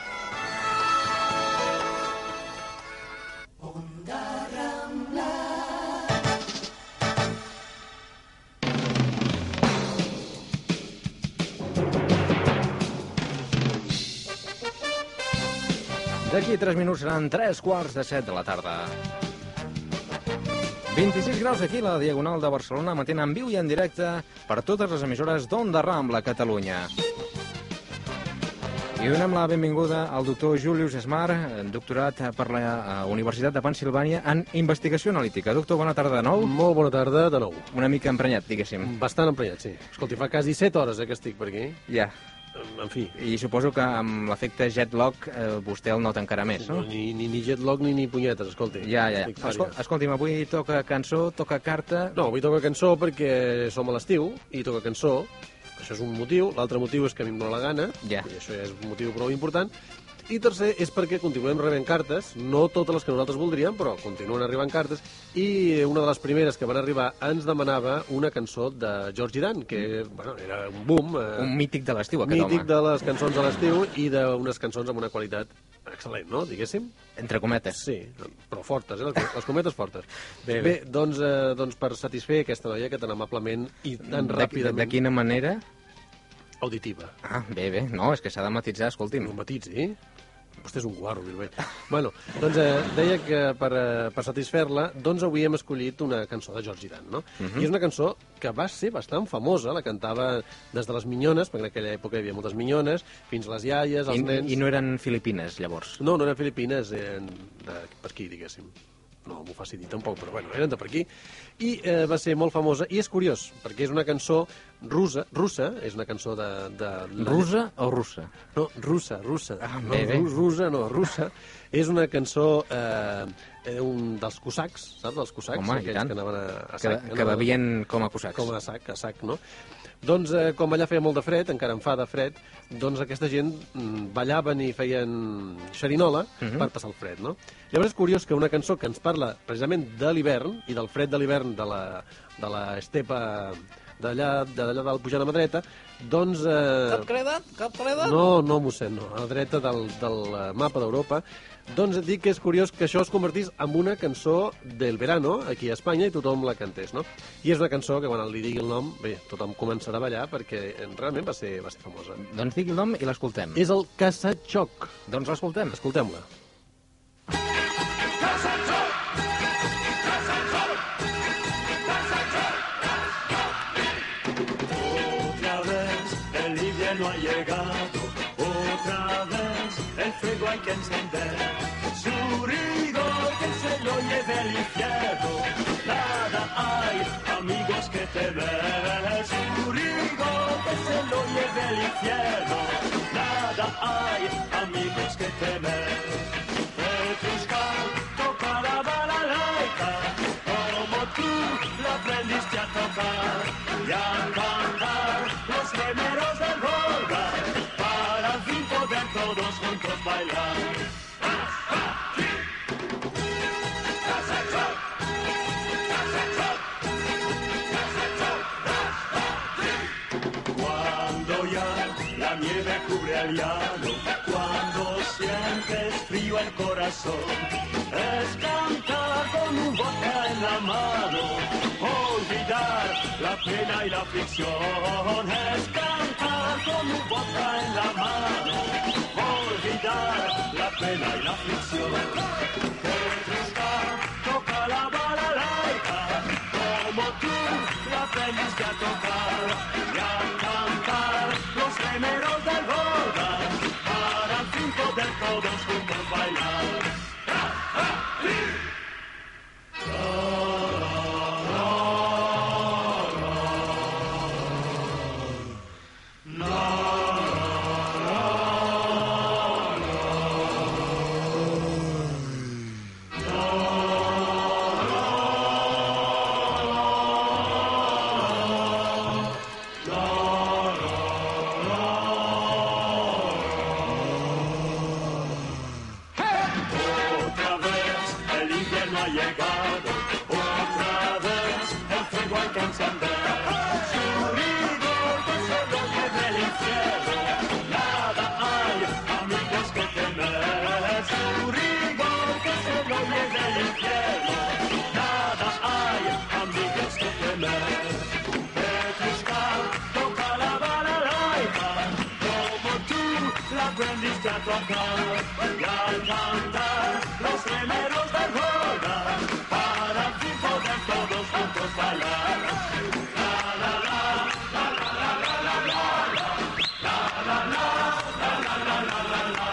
[SPEAKER 10] D'aquí a 3 minuts seran 3 quarts de 7 de la tarda. 26 graus aquí a la Diagonal de Barcelona, matent en viu i en directe per totes les emissores d'Onda Rambla, Catalunya. I donem la benvinguda al doctor Julius Smart, doctorat per la eh, Universitat de Pensilvània en Investigació Analítica. Doctor, bona tarda de nou.
[SPEAKER 5] Molt bona tarda de nou.
[SPEAKER 10] Una mica emprenyat, diguéssim.
[SPEAKER 5] Bastant emprenyat, sí. Escolti, fa quasi 7 hores eh, que estic per aquí.
[SPEAKER 10] Ja.
[SPEAKER 5] Em- En fi,
[SPEAKER 10] I suposo que amb l'efecte jet lag eh, vostè el nota encara més, no?
[SPEAKER 5] ni, ni, ni jetlag ni, ni punyetes, escolti.
[SPEAKER 10] Ja, ja.
[SPEAKER 5] Estic
[SPEAKER 10] Escol
[SPEAKER 5] fària.
[SPEAKER 10] escolti'm, avui toca cançó, toca carta...
[SPEAKER 5] No, avui toca cançó perquè som a l'estiu i toca cançó. Això és un motiu. L'altre motiu és que a mi em dóna la gana,
[SPEAKER 10] Ja.
[SPEAKER 5] i això ja és un motiu prou important. I tercer és perquè continuem rebent cartes, no totes les que nosaltres voldríem, però continuen arribant cartes, i una de les primeres que van arribar ens demanava una cançó de George Dan, que bueno, era un boom, eh,
[SPEAKER 10] Un mític de l'estiu, aquest
[SPEAKER 5] mític
[SPEAKER 10] home.
[SPEAKER 5] de les cançons a l'estiu i d'unes cançons amb una qualitat excel·lent, no?, diguéssim.
[SPEAKER 10] Entre cometes.
[SPEAKER 5] Sí, però fortes, eh? les, les cometes fortes.
[SPEAKER 10] Bé,
[SPEAKER 5] Bé,
[SPEAKER 10] bé.
[SPEAKER 5] bé. doncs, eh, doncs per satisfer aquesta noia que tan amablement i tan
[SPEAKER 10] De-
[SPEAKER 5] ràpidament
[SPEAKER 10] De, de quina manera?
[SPEAKER 5] auditiva.
[SPEAKER 10] Ah, bé, bé. No, és que s'ha de matitzar, escolti'm.
[SPEAKER 5] No matitzi, eh? Vostè és un guarro, Bilbet. bueno, doncs eh, deia que per, eh, per satisfer-la, doncs avui hem escollit una cançó de George Dan, no?
[SPEAKER 10] Mhm.
[SPEAKER 5] I és una cançó que va ser bastant famosa, la cantava des de les minyones, perquè en aquella època hi havia moltes minyones, fins les iaies, els
[SPEAKER 10] I,
[SPEAKER 5] nens...
[SPEAKER 10] I no eren filipines, llavors.
[SPEAKER 5] No, no eren filipines, eren de per aquí, diguéssim. No m'ho faci dir tampoc, però bueno, eren de per aquí. I eh, va ser molt famosa, i és curiós, perquè és una cançó russa, russa és una cançó de... de
[SPEAKER 10] Rusa o russa?
[SPEAKER 5] No, russa, russa.
[SPEAKER 10] Ah,
[SPEAKER 5] no,
[SPEAKER 10] bé, bé.
[SPEAKER 5] ru- russa, no, russa. És una cançó eh, eh, un, dels cosacs, saps? Dels cosacs,
[SPEAKER 10] Home, i
[SPEAKER 5] aquells
[SPEAKER 10] tant.
[SPEAKER 5] que anaven a, a
[SPEAKER 10] Que,
[SPEAKER 5] sac.
[SPEAKER 10] que
[SPEAKER 5] anaven-
[SPEAKER 10] bevien com a cosacs.
[SPEAKER 5] com a sac, a sac, no? Doncs eh, com allà feia molt de fred, encara en fa de fred, doncs aquesta gent mm, ballaven i feien xerinola
[SPEAKER 14] Mhm.
[SPEAKER 5] per passar el fred, no? Llavors és curiós que una cançó que ens parla precisament de l'hivern i del fred de l'hivern de la, de la estepa d'allà de d'allà dalt pujant a mà dreta, doncs... Eh,
[SPEAKER 2] Cap credat? Cap credat?
[SPEAKER 5] no, no, mossèn, no. A la dreta del, del eh, mapa d'Europa. Doncs et dic que és curiós que això es convertís en una cançó del verano aquí a Espanya i tothom la cantés, no? I és una cançó que quan li digui el nom, bé, tothom començarà a ballar perquè eh, realment va ser, va ser famosa.
[SPEAKER 10] Doncs digui el nom i l'escoltem.
[SPEAKER 5] És el Casatxoc.
[SPEAKER 10] Doncs l'escoltem.
[SPEAKER 5] Escoltem-la.
[SPEAKER 16] Otra vez el invierno ha llegado, otra vez el fuego hay que encender. Su rigor que se lo lleve el infierno, nada hay, amigos que temer. Su rigor que se lo lleve el infierno, nada hay, amigos que temer. El fiscal tocará balalaika, como tú la aprendiste a tocar. Y al cantar los remeros del Volga, para al fin poder todos juntos bailar. Cuando ya la nieve cubre al llano, cuando sientes frío el corazón, es cantar con un vodka en la mano, olvidar la pena y la aflicción, es cantar con un vodka en la mano, olvidar la pena y la aflicción. Que Tristar toca la balalaika, como tú la aprendiste a tocar y a cantar los remeros del Volga para al fin poder todos juntos bailar. ¡Ja, ja, sí! Otra vez el invierno ha llegado, otra vez el fuego hay que encender. Su rigor que se lo lleve el infierno, nada hay, amigos que temer. Su rigor que se lo lleve el infierno, nada hay, amigos que temer. Petrushka toca la balalaika, como tú la aprendiste a tocar y al cantar los remeros de roda para que poder todos juntos bailar. La, la, la, la, la, la, la, la, la, la. La, la, la, la, la, la, la, la, la.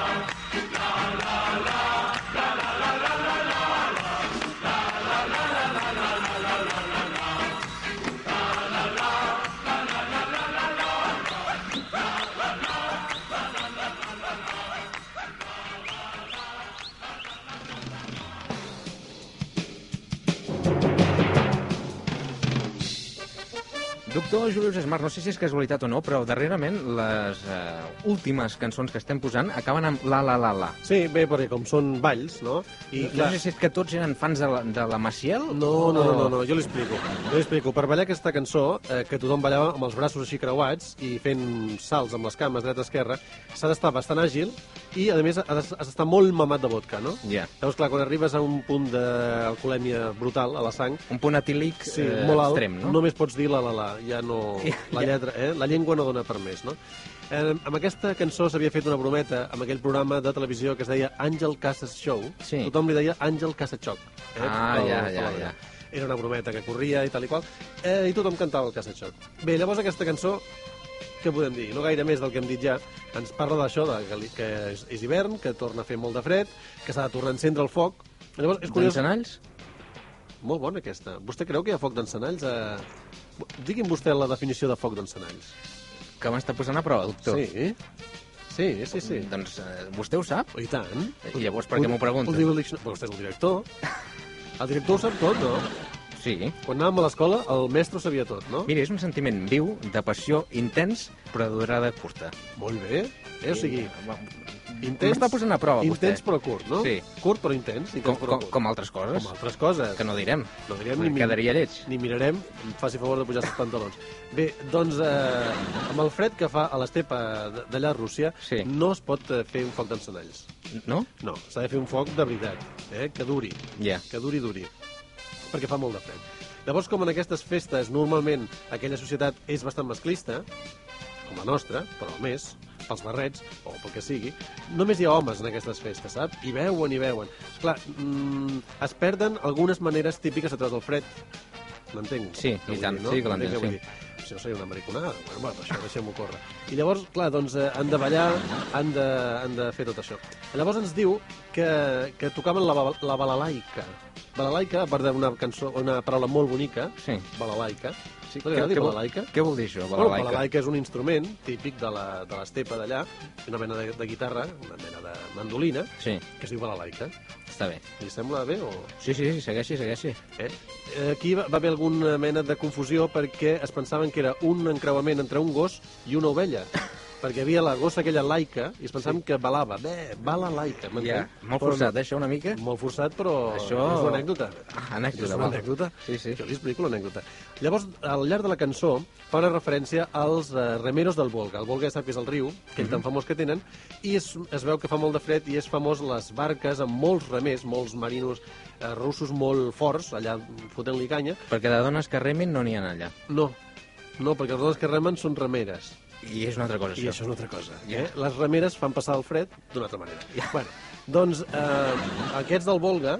[SPEAKER 16] La, la, la, la, la, la, la, la, la. La, la, la, la, la, la, la, la, la, la, la. La, la, la, la, la, la, la, la. La, la, la, la, la, la, la, la, la.
[SPEAKER 10] Doctor Julius Esmar, no sé si és casualitat o no, però darrerament les eh, últimes cançons que estem posant acaben amb la la la la.
[SPEAKER 5] Sí, bé, perquè com són balls, no? I,
[SPEAKER 10] I no
[SPEAKER 5] clar-
[SPEAKER 10] sé si és que tots eren fans de la, de la Maciel
[SPEAKER 5] No, no, no, no, no jo l'explico. Jo l'explico. Per ballar aquesta cançó, eh, que tothom ballava amb els braços així creuats i fent salts amb les cames dreta-esquerra, s'ha d'estar bastant àgil i, a més, has has d'estar molt mamat de vodka, no?
[SPEAKER 10] Ja.
[SPEAKER 5] Llavors, clar, quan arribes a un punt d'alcoholèmia brutal a la sang...
[SPEAKER 10] Un punt etílic
[SPEAKER 5] sí,
[SPEAKER 10] eh,
[SPEAKER 5] molt alt,
[SPEAKER 10] extrem, no?
[SPEAKER 5] Només pots dir la la la, ja no... La, lletra, eh? la llengua no dona per més, no? Eh, amb aquesta cançó s'havia fet una brometa amb aquell programa de televisió que es deia Àngel Casas Show. Sí. Tothom li deia Àngel Casachoc.
[SPEAKER 10] Ah,
[SPEAKER 5] Pel-
[SPEAKER 10] ja,
[SPEAKER 5] pel
[SPEAKER 10] ja,
[SPEAKER 5] programa.
[SPEAKER 10] ja.
[SPEAKER 5] Era una brometa que corria i tal i qual. Eh, I tothom cantava el Casachoc. Bé, llavors aquesta cançó què podem dir? No gaire més del que hem dit ja. Ens parla d'això, de que, li- que és, és hivern, que torna a fer molt de fred, que s'ha de tornar a encendre el foc. Llavors,
[SPEAKER 10] Doncs
[SPEAKER 5] és curiós...
[SPEAKER 10] D'encenalls?
[SPEAKER 5] Molt bona aquesta. Vostè creu que hi ha foc d'encenalls? A... Digui'm vostè la definició de foc d'encenalls.
[SPEAKER 10] Que m'està posant a prova, doctor.
[SPEAKER 5] Sí, sí, sí. sí.
[SPEAKER 10] Doncs eh, vostè ho sap?
[SPEAKER 5] I tant.
[SPEAKER 10] I llavors per què Eh, doncs m'ho pregunta?
[SPEAKER 5] Ho diu el diccionari. Però vostè és el director. El director ho sap tot, no?
[SPEAKER 10] Sí.
[SPEAKER 5] Quan anàvem a l'escola, el mestre ho sabia tot, no?
[SPEAKER 10] Mira, és un sentiment viu, de passió, intens, però de durada curta.
[SPEAKER 5] Molt bé. Eh, o sigui,
[SPEAKER 10] Intens, M'està posant a prova, vostè.
[SPEAKER 5] Intens però curt, no?
[SPEAKER 10] Sí.
[SPEAKER 5] Curt però intens. intens
[SPEAKER 10] Com,
[SPEAKER 5] però
[SPEAKER 10] com,
[SPEAKER 5] curt.
[SPEAKER 10] com altres coses.
[SPEAKER 5] Com altres coses.
[SPEAKER 10] Que no direm.
[SPEAKER 5] No direm
[SPEAKER 10] Em
[SPEAKER 5] mi-
[SPEAKER 10] quedaria lleig.
[SPEAKER 5] Ni mirarem, em faci favor de pujar els pantalons. Bé, doncs, eh, amb el fred que fa a l'estepa d- d'allà a Rússia,
[SPEAKER 10] Sí.
[SPEAKER 5] no es pot eh, fer un foc d'encenalls.
[SPEAKER 10] No?
[SPEAKER 5] No, s'ha de fer un foc de veritat, eh, que duri,
[SPEAKER 10] Ja.
[SPEAKER 5] que duri, duri, perquè fa molt de fred. Llavors, com en aquestes festes, normalment, aquella societat és bastant masclista, com la nostra, però més, pels barrets, o pel que sigui, només hi ha homes en aquestes festes, saps? I veuen, i veuen. Clar, mm, es perden algunes maneres típiques a través del fred. M'entenc?
[SPEAKER 10] Sí,
[SPEAKER 5] Què
[SPEAKER 10] i
[SPEAKER 5] vull
[SPEAKER 10] tant,
[SPEAKER 5] dir, no?
[SPEAKER 10] sí que l'entenc,
[SPEAKER 5] M'entenc què vull
[SPEAKER 10] sí.
[SPEAKER 5] dir? Això seria una mariconada. Bueno, bueno, però això deixem-ho córrer. I llavors, clar, doncs, eh, han de ballar, han de, han de fer tot això. Llavors ens diu que, que tocaven la, ba- la balalaica. Balalaica, a part d'una cançó, una paraula molt bonica,
[SPEAKER 10] Sí.
[SPEAKER 5] balalaica. Sí,
[SPEAKER 10] Què-
[SPEAKER 5] què,
[SPEAKER 10] què vol-
[SPEAKER 5] balalaica?
[SPEAKER 10] Què vol dir això,
[SPEAKER 5] Bueno,
[SPEAKER 10] balalaica?
[SPEAKER 5] balalaica és un instrument típic de la- de l'estepa d'allà, una mena de, de guitarra, una mena de mandolina,
[SPEAKER 10] Sí,
[SPEAKER 5] que es diu balalaica.
[SPEAKER 10] està bé.
[SPEAKER 5] Li sembla bé o...?
[SPEAKER 10] Sí, sí, sí, segueixi, segueixi.
[SPEAKER 5] Eh? Eh, Aquí va va haver alguna mena de confusió perquè es pensaven que era un encreuament entre un gos i una ovella. perquè hi havia la gossa aquella laica i es pensaven que balava. Bé, bala laica,
[SPEAKER 10] Ja,
[SPEAKER 5] m'entens?
[SPEAKER 10] molt
[SPEAKER 5] Però
[SPEAKER 10] forçat, eh, això una mica.
[SPEAKER 5] Molt forçat, però
[SPEAKER 10] Això-
[SPEAKER 5] és una anècdota.
[SPEAKER 10] Ah, anècdota,
[SPEAKER 5] És una
[SPEAKER 10] val.
[SPEAKER 5] anècdota.
[SPEAKER 10] Sí, sí.
[SPEAKER 5] Jo li explico l'anècdota. Llavors, al llarg de la cançó, fa una referència als eh, remeros del Volga. El Volga ja sap que és el riu, aquell
[SPEAKER 10] Mhm.
[SPEAKER 5] tan famós que tenen, i es, es veu que fa molt de fred i és famós les barques amb molts remers, molts marinos eh, russos molt forts, allà fotent-li canya.
[SPEAKER 10] Perquè de dones que remin no n'hi ha allà.
[SPEAKER 5] No, no, perquè els dones que remen són remeres.
[SPEAKER 10] I és una altra cosa,
[SPEAKER 5] I
[SPEAKER 10] això.
[SPEAKER 5] això és una altra cosa.
[SPEAKER 10] Ja.
[SPEAKER 5] Eh? Les remeres fan passar el fred d'una altra manera. Bueno, doncs, eh, aquests del Volga,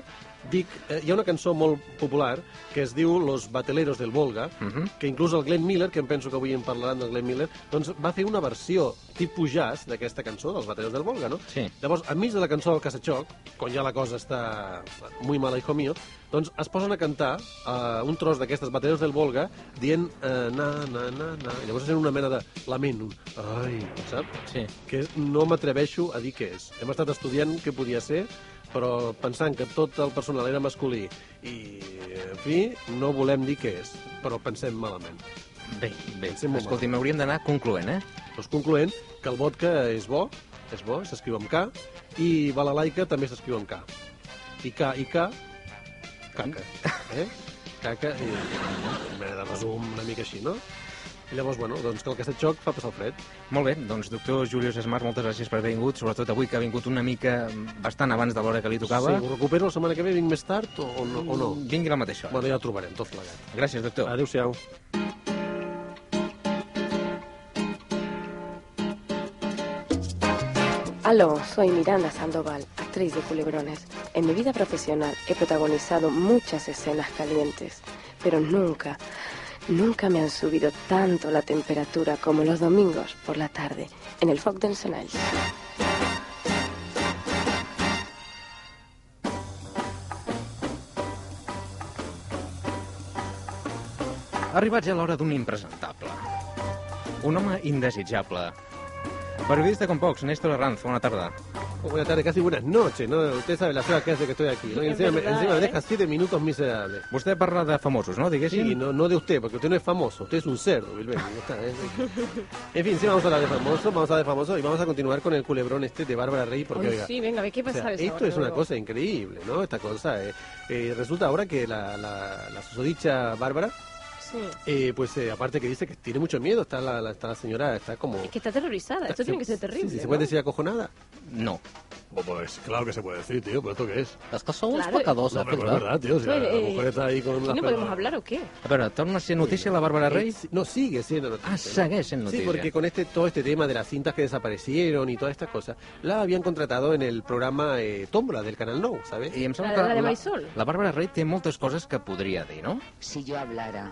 [SPEAKER 5] dic, eh, hi ha una cançó molt popular que es diu Los Bateleros del Volga,
[SPEAKER 10] Mhm.
[SPEAKER 5] que inclús el Glenn Miller, que em penso que avui en parlaran del Glenn Miller, doncs va fer una versió tipus jazz d'aquesta cançó, dels Bateleros del Volga, no?
[SPEAKER 10] Sí.
[SPEAKER 5] Llavors, enmig de la cançó del Casatxoc, quan ja la cosa està muy mala, hijo mío, doncs es posen a cantar eh, un tros d'aquestes bateries del Volga dient eh, na, na, na, na, i llavors és una mena de lament, un ai, saps?
[SPEAKER 10] Sí.
[SPEAKER 5] Que no m'atreveixo a dir què és. Hem estat estudiant què podia ser, però pensant que tot el personal era masculí i, en fi, no volem dir què és, però pensem malament.
[SPEAKER 10] Bé, bé.
[SPEAKER 5] Sí, molt
[SPEAKER 10] Escolti, m'hauríem d'anar concloent, eh?
[SPEAKER 5] Doncs concloent que el vodka és bo, és bo, s'escriu amb K, i balalaica també s'escriu amb K. I K, i K, caca. Eh? Caca, i una mena de resum una mica així, no? I llavors, bueno, doncs que el castet xoc fa passar el fred.
[SPEAKER 10] Molt bé, doncs, doctor Julius Esmar, moltes gràcies per haver vingut, sobretot avui que ha vingut una mica bastant abans de l'hora que li tocava.
[SPEAKER 5] Si ho recupero la setmana que ve, vinc més tard o, o no? O no?
[SPEAKER 10] Vingui a la mateixa hora.
[SPEAKER 5] Bueno, ja ho trobarem, tot plegat.
[SPEAKER 10] Gràcies, doctor.
[SPEAKER 5] Adéu-siau.
[SPEAKER 4] Aló, soy Miranda Sandoval, actriz de Culebrones. En mi vida profesional he protagonizado muchas escenas calientes, pero nunca, nunca me han subido tanto la temperatura como los domingos por la tarde en el Foc d'Encenall.
[SPEAKER 10] Ha arribat ja l'hora d'un impresentable. Un home indesitjable. Periodista con Pox, Néstor Arranz, bona tarda.
[SPEAKER 5] Buenas tardes, casi buenas noches, ¿no? Usted sabe la fea que hace que estoy aquí, ¿no? Y
[SPEAKER 13] Es
[SPEAKER 5] encima, me,
[SPEAKER 13] verdad,
[SPEAKER 5] encima me
[SPEAKER 13] ¿eh?
[SPEAKER 5] deja siete minutos miserables.
[SPEAKER 10] Vostè parla de famosos, no? Diguéssim.
[SPEAKER 5] Sí, no, no de usted, porque usted no es famoso, usted es un cerdo, Bilbao, ya está, ¿eh? En fin, sí, vamos a hablar de famoso, vamos a hablar de famoso y vamos a continuar con el culebrón este de Bárbara Rey, porque
[SPEAKER 13] Ay,
[SPEAKER 5] oiga,
[SPEAKER 13] sí, venga, a ver qué
[SPEAKER 5] o sea,
[SPEAKER 13] pasa.
[SPEAKER 5] esto es una cosa increíble, ¿no? Esta cosa, eh, eh, resulta ahora que la, la, la susodicha Bárbara,
[SPEAKER 13] Sí.
[SPEAKER 5] eh, pues eh, aparte que dice que tiene mucho miedo, está la, la- está la señora, está como...
[SPEAKER 13] Es que está aterrorizada. Esto tiene que ser terrible.
[SPEAKER 5] Sí, sí, se
[SPEAKER 13] ¿no?
[SPEAKER 5] puede decir acojonada.
[SPEAKER 10] No.
[SPEAKER 14] pues claro que se puede decir, tío, pero ¿esto qué es?
[SPEAKER 2] És que sou uns
[SPEAKER 13] Claro.
[SPEAKER 2] pecadors,
[SPEAKER 14] No,
[SPEAKER 2] eh,
[SPEAKER 14] pero
[SPEAKER 2] però
[SPEAKER 14] es verdad, tío, si la, la
[SPEAKER 13] Eh,
[SPEAKER 14] mujer está ahí con
[SPEAKER 13] ¿Y
[SPEAKER 14] las
[SPEAKER 13] no podemos hablar o qué?
[SPEAKER 10] A veure, torna a ser notícia la Bàrbara Rey?
[SPEAKER 5] Eh, sí, no, sigue siendo noticia.
[SPEAKER 10] Ah, segueix sent notícia.
[SPEAKER 5] Sí, porque con este todo este tema de las cintas que desaparecieron y todas estas cosas, la habían contratado en el programa eh, Tómbola del Canal Now, ¿sabes?
[SPEAKER 10] I em sembla
[SPEAKER 13] La-
[SPEAKER 10] que
[SPEAKER 13] la de Marisol.
[SPEAKER 10] la Bàrbara Rey té moltes coses que podria dir, no?
[SPEAKER 17] Si yo hablara.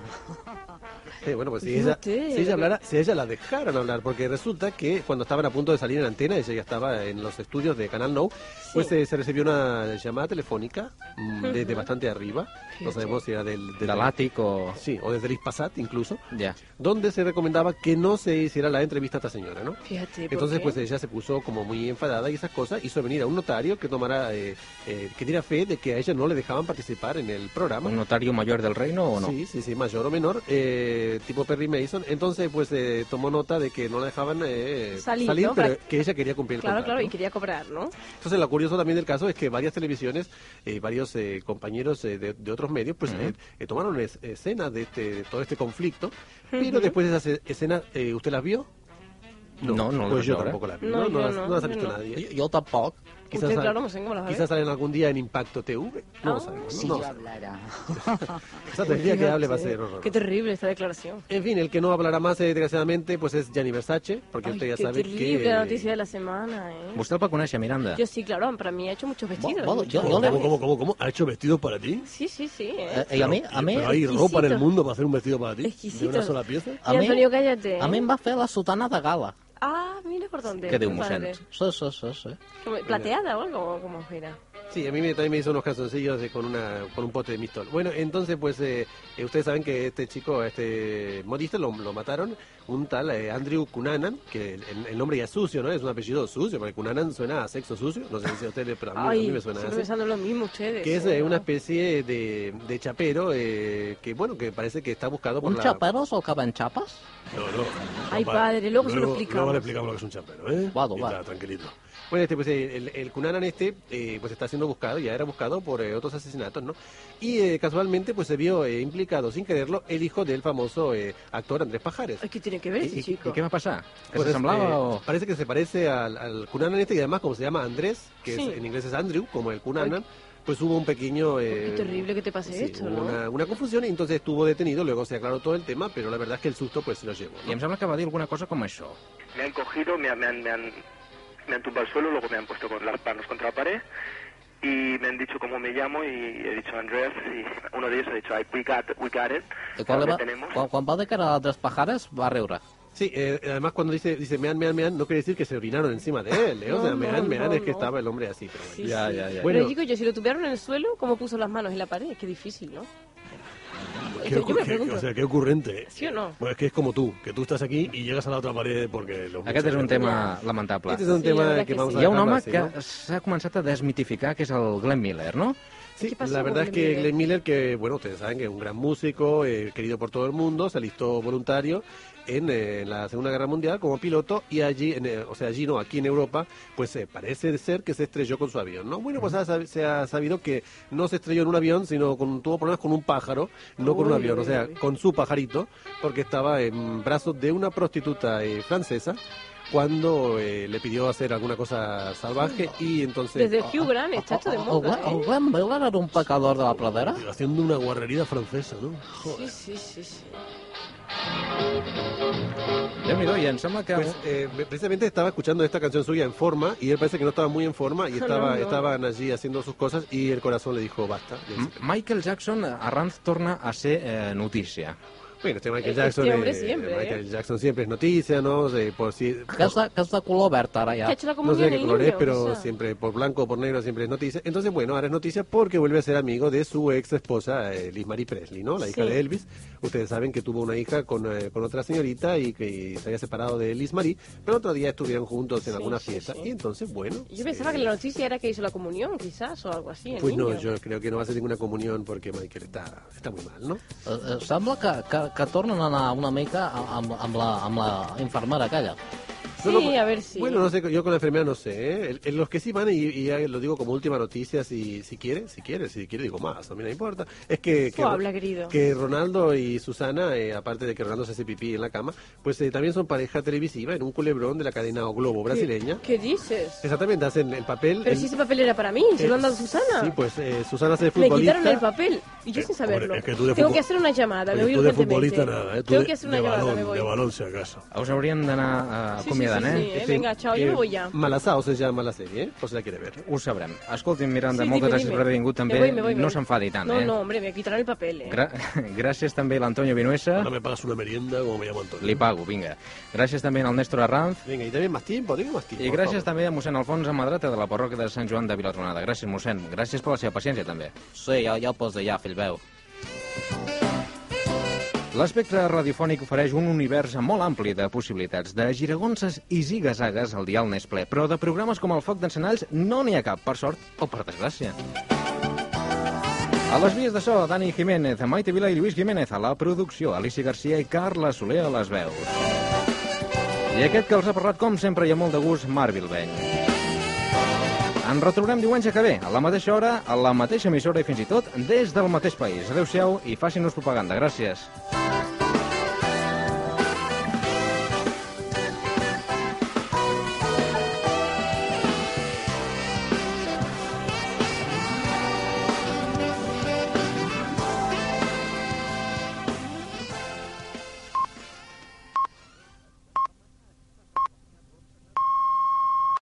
[SPEAKER 5] Eh, bueno, pues si ella,
[SPEAKER 13] Fíjate.
[SPEAKER 5] si ella hablara, si ella la dejaran hablar, porque resulta que cuando estaban a punto de salir en antena, ella ya estaba en los los estudios de Canal Now, pues eh, se recibió una llamada telefónica mm, desde
[SPEAKER 16] Ujú.
[SPEAKER 5] bastante arriba, no sabemos si era del, del,
[SPEAKER 10] Del ático.
[SPEAKER 5] Sí, o desde el Ispasat incluso,
[SPEAKER 10] Ya.
[SPEAKER 5] donde se recomendaba que no se hiciera la entrevista a esta señora, ¿no?
[SPEAKER 17] Fíjate, ¿por
[SPEAKER 5] Entonces,
[SPEAKER 17] qué?
[SPEAKER 5] pues ella se puso como muy enfadada y esas cosas, hizo venir a un notario que tomara, eh, eh, que diera fe de que a ella no le dejaban participar en el programa.
[SPEAKER 10] ¿Un notario mayor del reino o no?
[SPEAKER 5] Sí, sí, sí, mayor o menor, eh, tipo Perry Mason. Entonces, pues eh, tomó nota de que no la dejaban eh,
[SPEAKER 17] Salir,
[SPEAKER 5] salir,
[SPEAKER 17] ¿no?
[SPEAKER 5] pero
[SPEAKER 17] Para-
[SPEAKER 5] que ella quería cumplir el
[SPEAKER 17] Claro,
[SPEAKER 5] contrato.
[SPEAKER 17] claro, y quería cobrar, ¿no?
[SPEAKER 5] Entonces, lo curioso también del caso es que varias televisiones, eh, varios eh, compañeros eh, de, de otros medios, pues eh, eh, tomaron es- escenas de, este, de todo este conflicto, pero
[SPEAKER 17] Ujú.
[SPEAKER 5] después de esas e- escenas, eh, ¿usted las vio?
[SPEAKER 10] No, no
[SPEAKER 5] pues
[SPEAKER 10] las
[SPEAKER 5] yo
[SPEAKER 10] veo,
[SPEAKER 5] tampoco
[SPEAKER 10] eh.
[SPEAKER 5] las vi.
[SPEAKER 17] No,
[SPEAKER 5] No, no,
[SPEAKER 17] yo
[SPEAKER 5] las,
[SPEAKER 17] no,
[SPEAKER 5] no las ha
[SPEAKER 17] yo
[SPEAKER 5] visto
[SPEAKER 17] no.
[SPEAKER 5] nadie.
[SPEAKER 2] Yo, tampoco.
[SPEAKER 5] Quizás,
[SPEAKER 17] Usted,
[SPEAKER 5] sal-
[SPEAKER 17] claro, no Ah, sé cómo las va a ver.
[SPEAKER 5] quizás salen algún día en Impacto TV. No lo sabemos.
[SPEAKER 17] si
[SPEAKER 5] no
[SPEAKER 17] yo
[SPEAKER 5] lo sabemos.
[SPEAKER 17] hablara.
[SPEAKER 5] Exacto, el día que hable va a
[SPEAKER 17] Fíjate.
[SPEAKER 5] ser horroroso.
[SPEAKER 17] Qué terrible esta declaración.
[SPEAKER 5] En fin, el que no hablará más, eh, desgraciadamente, pues es Gianni Versace, porque
[SPEAKER 17] Ay,
[SPEAKER 5] usted ya
[SPEAKER 17] qué
[SPEAKER 5] sabe
[SPEAKER 17] terrible
[SPEAKER 5] que...
[SPEAKER 17] la noticia de la semana, ¿eh?
[SPEAKER 10] Vostè el va conèixer, Miranda?
[SPEAKER 17] Yo sí, claro, para mí ha hecho muchos vestidos. muchos-
[SPEAKER 14] ¿Cómo, cómo, cómo, cómo, cómo? ¿Ha hecho vestidos para ti?
[SPEAKER 17] Sí, sí, sí. ¿eh?
[SPEAKER 14] Eh, eh, Pero- Pero hay ropa en el mundo para hacer un vestido para ti.
[SPEAKER 17] Exquisito.
[SPEAKER 14] ¿De una sola pieza?
[SPEAKER 17] A mí- Antonio, cállate.
[SPEAKER 2] A mi em va fer la sotana de gala.
[SPEAKER 17] Ah, mira por dónde. Fíjate.
[SPEAKER 2] Sí, sí, sí, sí.
[SPEAKER 17] Como- ¿Plateada o algo? Como era.
[SPEAKER 5] Sí, a mí me- también me hizo unos calzoncillos de- con, una, con un pote de mistol. Bueno, entonces, pues, eh, eh, ustedes saben que este chico, este modista, lo, lo mataron. Un tal eh, Andrew Cunanan, que el, el nombre ya es sucio, ¿no? Es un apellido sucio, porque Cunanan suena a sexo sucio. No sé si a ustedes, pero a mí, a mí
[SPEAKER 17] Ay,
[SPEAKER 5] me suena
[SPEAKER 17] siempre
[SPEAKER 5] así.
[SPEAKER 17] pensando lo mismo ustedes.
[SPEAKER 5] Que es
[SPEAKER 17] ¿eh?
[SPEAKER 5] eh, una especie de, de chapero eh, que, bueno, que parece que está buscado por
[SPEAKER 2] Un
[SPEAKER 5] la...
[SPEAKER 2] chapero o que ven xapes?
[SPEAKER 5] No, no.
[SPEAKER 17] Ay, padre, luego se lo explicamos.
[SPEAKER 14] Luego le explicamos lo que es un chapero, ¿eh?
[SPEAKER 2] Vado,
[SPEAKER 14] Y
[SPEAKER 2] vado.
[SPEAKER 14] está, tranquilito.
[SPEAKER 5] Bueno, este, pues eh, el, el Cunanan este, eh, pues está siendo buscado, ya era buscado por eh, otros asesinatos, ¿no? Y eh, casualmente, pues se vio eh, implicado, sin quererlo, el hijo del famoso eh, actor Andrés Pajares.
[SPEAKER 17] Ay, ¿qué tiene que ver ese
[SPEAKER 5] ¿Y- y-
[SPEAKER 17] chico?
[SPEAKER 5] y qué va a pasar?
[SPEAKER 10] ¿Que se semblaba o-
[SPEAKER 5] Parece que se parece al, al Cunanan este, y además, como se llama Andrés, que es-
[SPEAKER 17] Sí.
[SPEAKER 5] en inglés es Andrew, como el Cunanan, pues hubo un pequeño... eh,
[SPEAKER 17] Qué terrible que te pase
[SPEAKER 5] sí,
[SPEAKER 17] esto,
[SPEAKER 5] hubo
[SPEAKER 17] ¿no?
[SPEAKER 5] una, una confusión, y entonces estuvo detenido, luego se aclaró todo el tema, pero la verdad es que el susto, pues, se lo llevó.
[SPEAKER 10] I em sembla que va dir alguna cosa com això.
[SPEAKER 3] Me han cogido, me, han- me han, me, han, me han tumbado al suelo, luego me han puesto con las manos contra la pared y me han dicho cómo me llamo y he dicho Andrés y uno de ellos ha dicho, "Ay, we got, we got it,
[SPEAKER 2] I quan,
[SPEAKER 3] Lo
[SPEAKER 2] li va,
[SPEAKER 3] tenemos.
[SPEAKER 2] quan, quan va de cara a altres pajares, va riure.
[SPEAKER 5] Sí, eh, además cuando dice, dice mean, mean, mean, no quiere decir que se orinaron encima de él, ¿eh? o
[SPEAKER 17] No,
[SPEAKER 5] sea,
[SPEAKER 17] no,
[SPEAKER 5] mean, mean
[SPEAKER 17] no,
[SPEAKER 5] es que
[SPEAKER 17] no.
[SPEAKER 5] estaba el hombre así. Pero bueno.
[SPEAKER 17] Sí,
[SPEAKER 10] Ya,
[SPEAKER 17] sí.
[SPEAKER 10] ya, ya.
[SPEAKER 17] Pero
[SPEAKER 5] Bueno.
[SPEAKER 17] digo yo, si lo tuvieron en el suelo, ¿cómo puso las manos en la pared? Qué difícil, ¿no?
[SPEAKER 14] Qué
[SPEAKER 17] Esto- yo me
[SPEAKER 14] ocur- qué-
[SPEAKER 17] pregunto.
[SPEAKER 14] o sea, qué ocurrente. ¿eh?
[SPEAKER 17] ¿Sí o no?
[SPEAKER 14] Bueno, es que es como tú, que tú estás aquí y llegas a la otra pared porque... Los
[SPEAKER 10] Aquest és un tema lamentable.
[SPEAKER 5] Este és un Sí, tema la verdad que que vamos sí. a
[SPEAKER 10] Hi ha un
[SPEAKER 5] dejarlo
[SPEAKER 10] home
[SPEAKER 5] así,
[SPEAKER 10] que
[SPEAKER 5] ¿no?
[SPEAKER 10] s'ha començat a desmitificar, que és el Glenn Miller, no?
[SPEAKER 5] Sí,
[SPEAKER 10] pasó
[SPEAKER 5] la
[SPEAKER 10] con
[SPEAKER 5] verdad es
[SPEAKER 10] Glenn
[SPEAKER 5] que
[SPEAKER 10] Miller?
[SPEAKER 5] Glenn Miller, que bueno, ustedes saben que es un gran músico, eh, querido por todo el mundo, se alistó voluntario en eh, la Segunda Guerra Mundial como piloto y allí, en, eh, o sea, allí no, aquí en Europa, pues eh, parece ser que se estrelló con su avión, ¿no? Bueno, pues ha sab- se ha sabido que no se estrelló en un avión, sino con, tuvo problemas con un pájaro, no con un
[SPEAKER 14] Uy,
[SPEAKER 5] avión, o
[SPEAKER 14] uy,
[SPEAKER 5] sea,
[SPEAKER 14] uy.
[SPEAKER 5] con su pajarito, porque estaba en brazos de una prostituta eh, francesa cuando eh, le pidió hacer alguna cosa salvaje y entonces... Oh.
[SPEAKER 17] Desde Hugh Grant está esto de
[SPEAKER 2] El,
[SPEAKER 17] moda,
[SPEAKER 2] Glenn-
[SPEAKER 17] ¿eh?
[SPEAKER 2] el Glenn Miller era un pecador de la pradera?
[SPEAKER 14] Haciendo una guarrería francesa, ¿no?
[SPEAKER 5] oh,
[SPEAKER 17] Sí, sí, sí, sí.
[SPEAKER 10] Déu-n'hi-do, i em sembla que...
[SPEAKER 5] Pues, eh, precisamente estaba escuchando esta canción suya en forma y él parece que no estaba muy en forma y
[SPEAKER 10] No,
[SPEAKER 5] estaba,
[SPEAKER 10] no.
[SPEAKER 5] estaban allí haciendo sus cosas y el corazón le dijo basta. Le
[SPEAKER 14] Mm.
[SPEAKER 5] dice,
[SPEAKER 10] Michael Jackson, arranz, torna a ser eh, notícia.
[SPEAKER 5] Bueno, este Michael
[SPEAKER 10] Este
[SPEAKER 5] Jackson,
[SPEAKER 10] hombre
[SPEAKER 5] eh,
[SPEAKER 10] siempre,
[SPEAKER 5] Michael Jackson siempre es noticia, ¿no? Eh, por si,
[SPEAKER 2] Que és, de, que és de color verd, ara, ja.
[SPEAKER 5] Ya. No sé de qué color es, pero siempre por blanco o por negro siempre es noticia. Entonces, bueno, ahora es noticia porque vuelve a ser amigo de su ex esposa, eh, Liz Marie Presley, ¿no? La hija
[SPEAKER 14] Sí.
[SPEAKER 5] de Elvis. Ustedes saben que tuvo una hija con, eh, con otra señorita y que se había separado de Liz Marie, pero otro día estuvieron juntos en alguna fiesta. Y entonces, bueno.
[SPEAKER 17] Yo pensaba que la noticia era que hizo la comunión, quizás, o algo así. el
[SPEAKER 5] Pues no,
[SPEAKER 17] niño.
[SPEAKER 5] yo creo que no va a ser ninguna comunión porque Michael está, está muy mal, ¿no?
[SPEAKER 2] Eh, eh, sembla que, que, que tornen a anar una mica a- amb, amb, la, amb la infermera aquella.
[SPEAKER 17] Sí, a ver si.
[SPEAKER 5] Bueno, no sé, yo con la enfermedad no sé. ¿eh? El- el- los que sí van, y, y ya lo digo como última noticia, si, si quiere, si quiere, si quiere, digo más, también no importa. Es que, que,
[SPEAKER 17] Tú habla, querido.
[SPEAKER 5] que Ronaldo y Susana, eh, aparte de que Ronaldo se hace pipí en la cama, pues eh, también son pareja televisiva en un culebrón de la cadena O Globo brasileña.
[SPEAKER 17] ¿Qué dices?
[SPEAKER 14] Eh,
[SPEAKER 5] Exactamente, hacen el papel.
[SPEAKER 17] Pero
[SPEAKER 5] en- eh,
[SPEAKER 17] si ese papel era para mí, se lo han dado a Susana.
[SPEAKER 5] Sí, pues eh, Susana se
[SPEAKER 17] Me
[SPEAKER 5] futbolista.
[SPEAKER 17] quitaron el papel y yo sin saberlo.
[SPEAKER 14] Eh, es que tú de
[SPEAKER 17] Tengo
[SPEAKER 14] futbol-
[SPEAKER 17] que hacer una llamada, me voy
[SPEAKER 14] Oye, tú de
[SPEAKER 17] urgentemente.
[SPEAKER 14] futbolista nada, ¿eh? Tú
[SPEAKER 17] Tengo
[SPEAKER 14] de-
[SPEAKER 17] que hacer
[SPEAKER 14] de
[SPEAKER 17] una llamada,
[SPEAKER 14] balón,
[SPEAKER 17] me voy.
[SPEAKER 14] de balón si acaso.
[SPEAKER 10] Us haurien d'anar a
[SPEAKER 17] Sí, sí,
[SPEAKER 10] queden, eh?
[SPEAKER 13] Sí, eh? Vinga, xau, jo vull ja.
[SPEAKER 5] Malasao se llama la sèrie, eh? Pues la quiere ver.
[SPEAKER 10] Ho sabrem. Escolti'm, Miranda,
[SPEAKER 13] Sí,
[SPEAKER 10] moltes
[SPEAKER 13] dime,
[SPEAKER 10] gràcies
[SPEAKER 13] dime.
[SPEAKER 10] per haver vingut també.
[SPEAKER 13] Me voy, me voy, me
[SPEAKER 10] no
[SPEAKER 13] voy.
[SPEAKER 10] s'enfadi tant,
[SPEAKER 13] No,
[SPEAKER 10] eh?
[SPEAKER 13] no, hombre, me quitarán el papel, eh.
[SPEAKER 10] Gra gràcies també a l'Antonio Vinuesa.
[SPEAKER 5] Ahora me pagas una merienda, como me llamo Antonio.
[SPEAKER 10] Li pago, vinga. Gràcies també al Néstor Arranz.
[SPEAKER 5] Vinga, i també més tiempo, digue'm més tiempo.
[SPEAKER 10] I gràcies també a mossèn Alfons Amadreta de la parròquia de Sant Joan de Vilatronada. Gràcies, mossèn. Gràcies per la seva paciència, també. Sí, ja, ja ho pots allà, fill veu. L'espectre radiofònic ofereix un univers molt ampli de possibilitats, de giragonses i zigazagues al dial n'és ple, però de programes com el Foc d'Encenalls no n'hi ha cap, per sort o per desgràcia. A les vies de so, Dani Jiménez, Maite Vila i Lluís Jiménez, a la producció, Alicia Garcia i Carla Soler a les veus. I aquest que els ha parlat, com sempre, i amb molt de gust, Marc Vilbeny. Ens retrobem diumenge que ve, a la mateixa hora, a la mateixa emissora i fins i tot des del mateix país. Adéu-siau i facin-nos propaganda. Gràcies.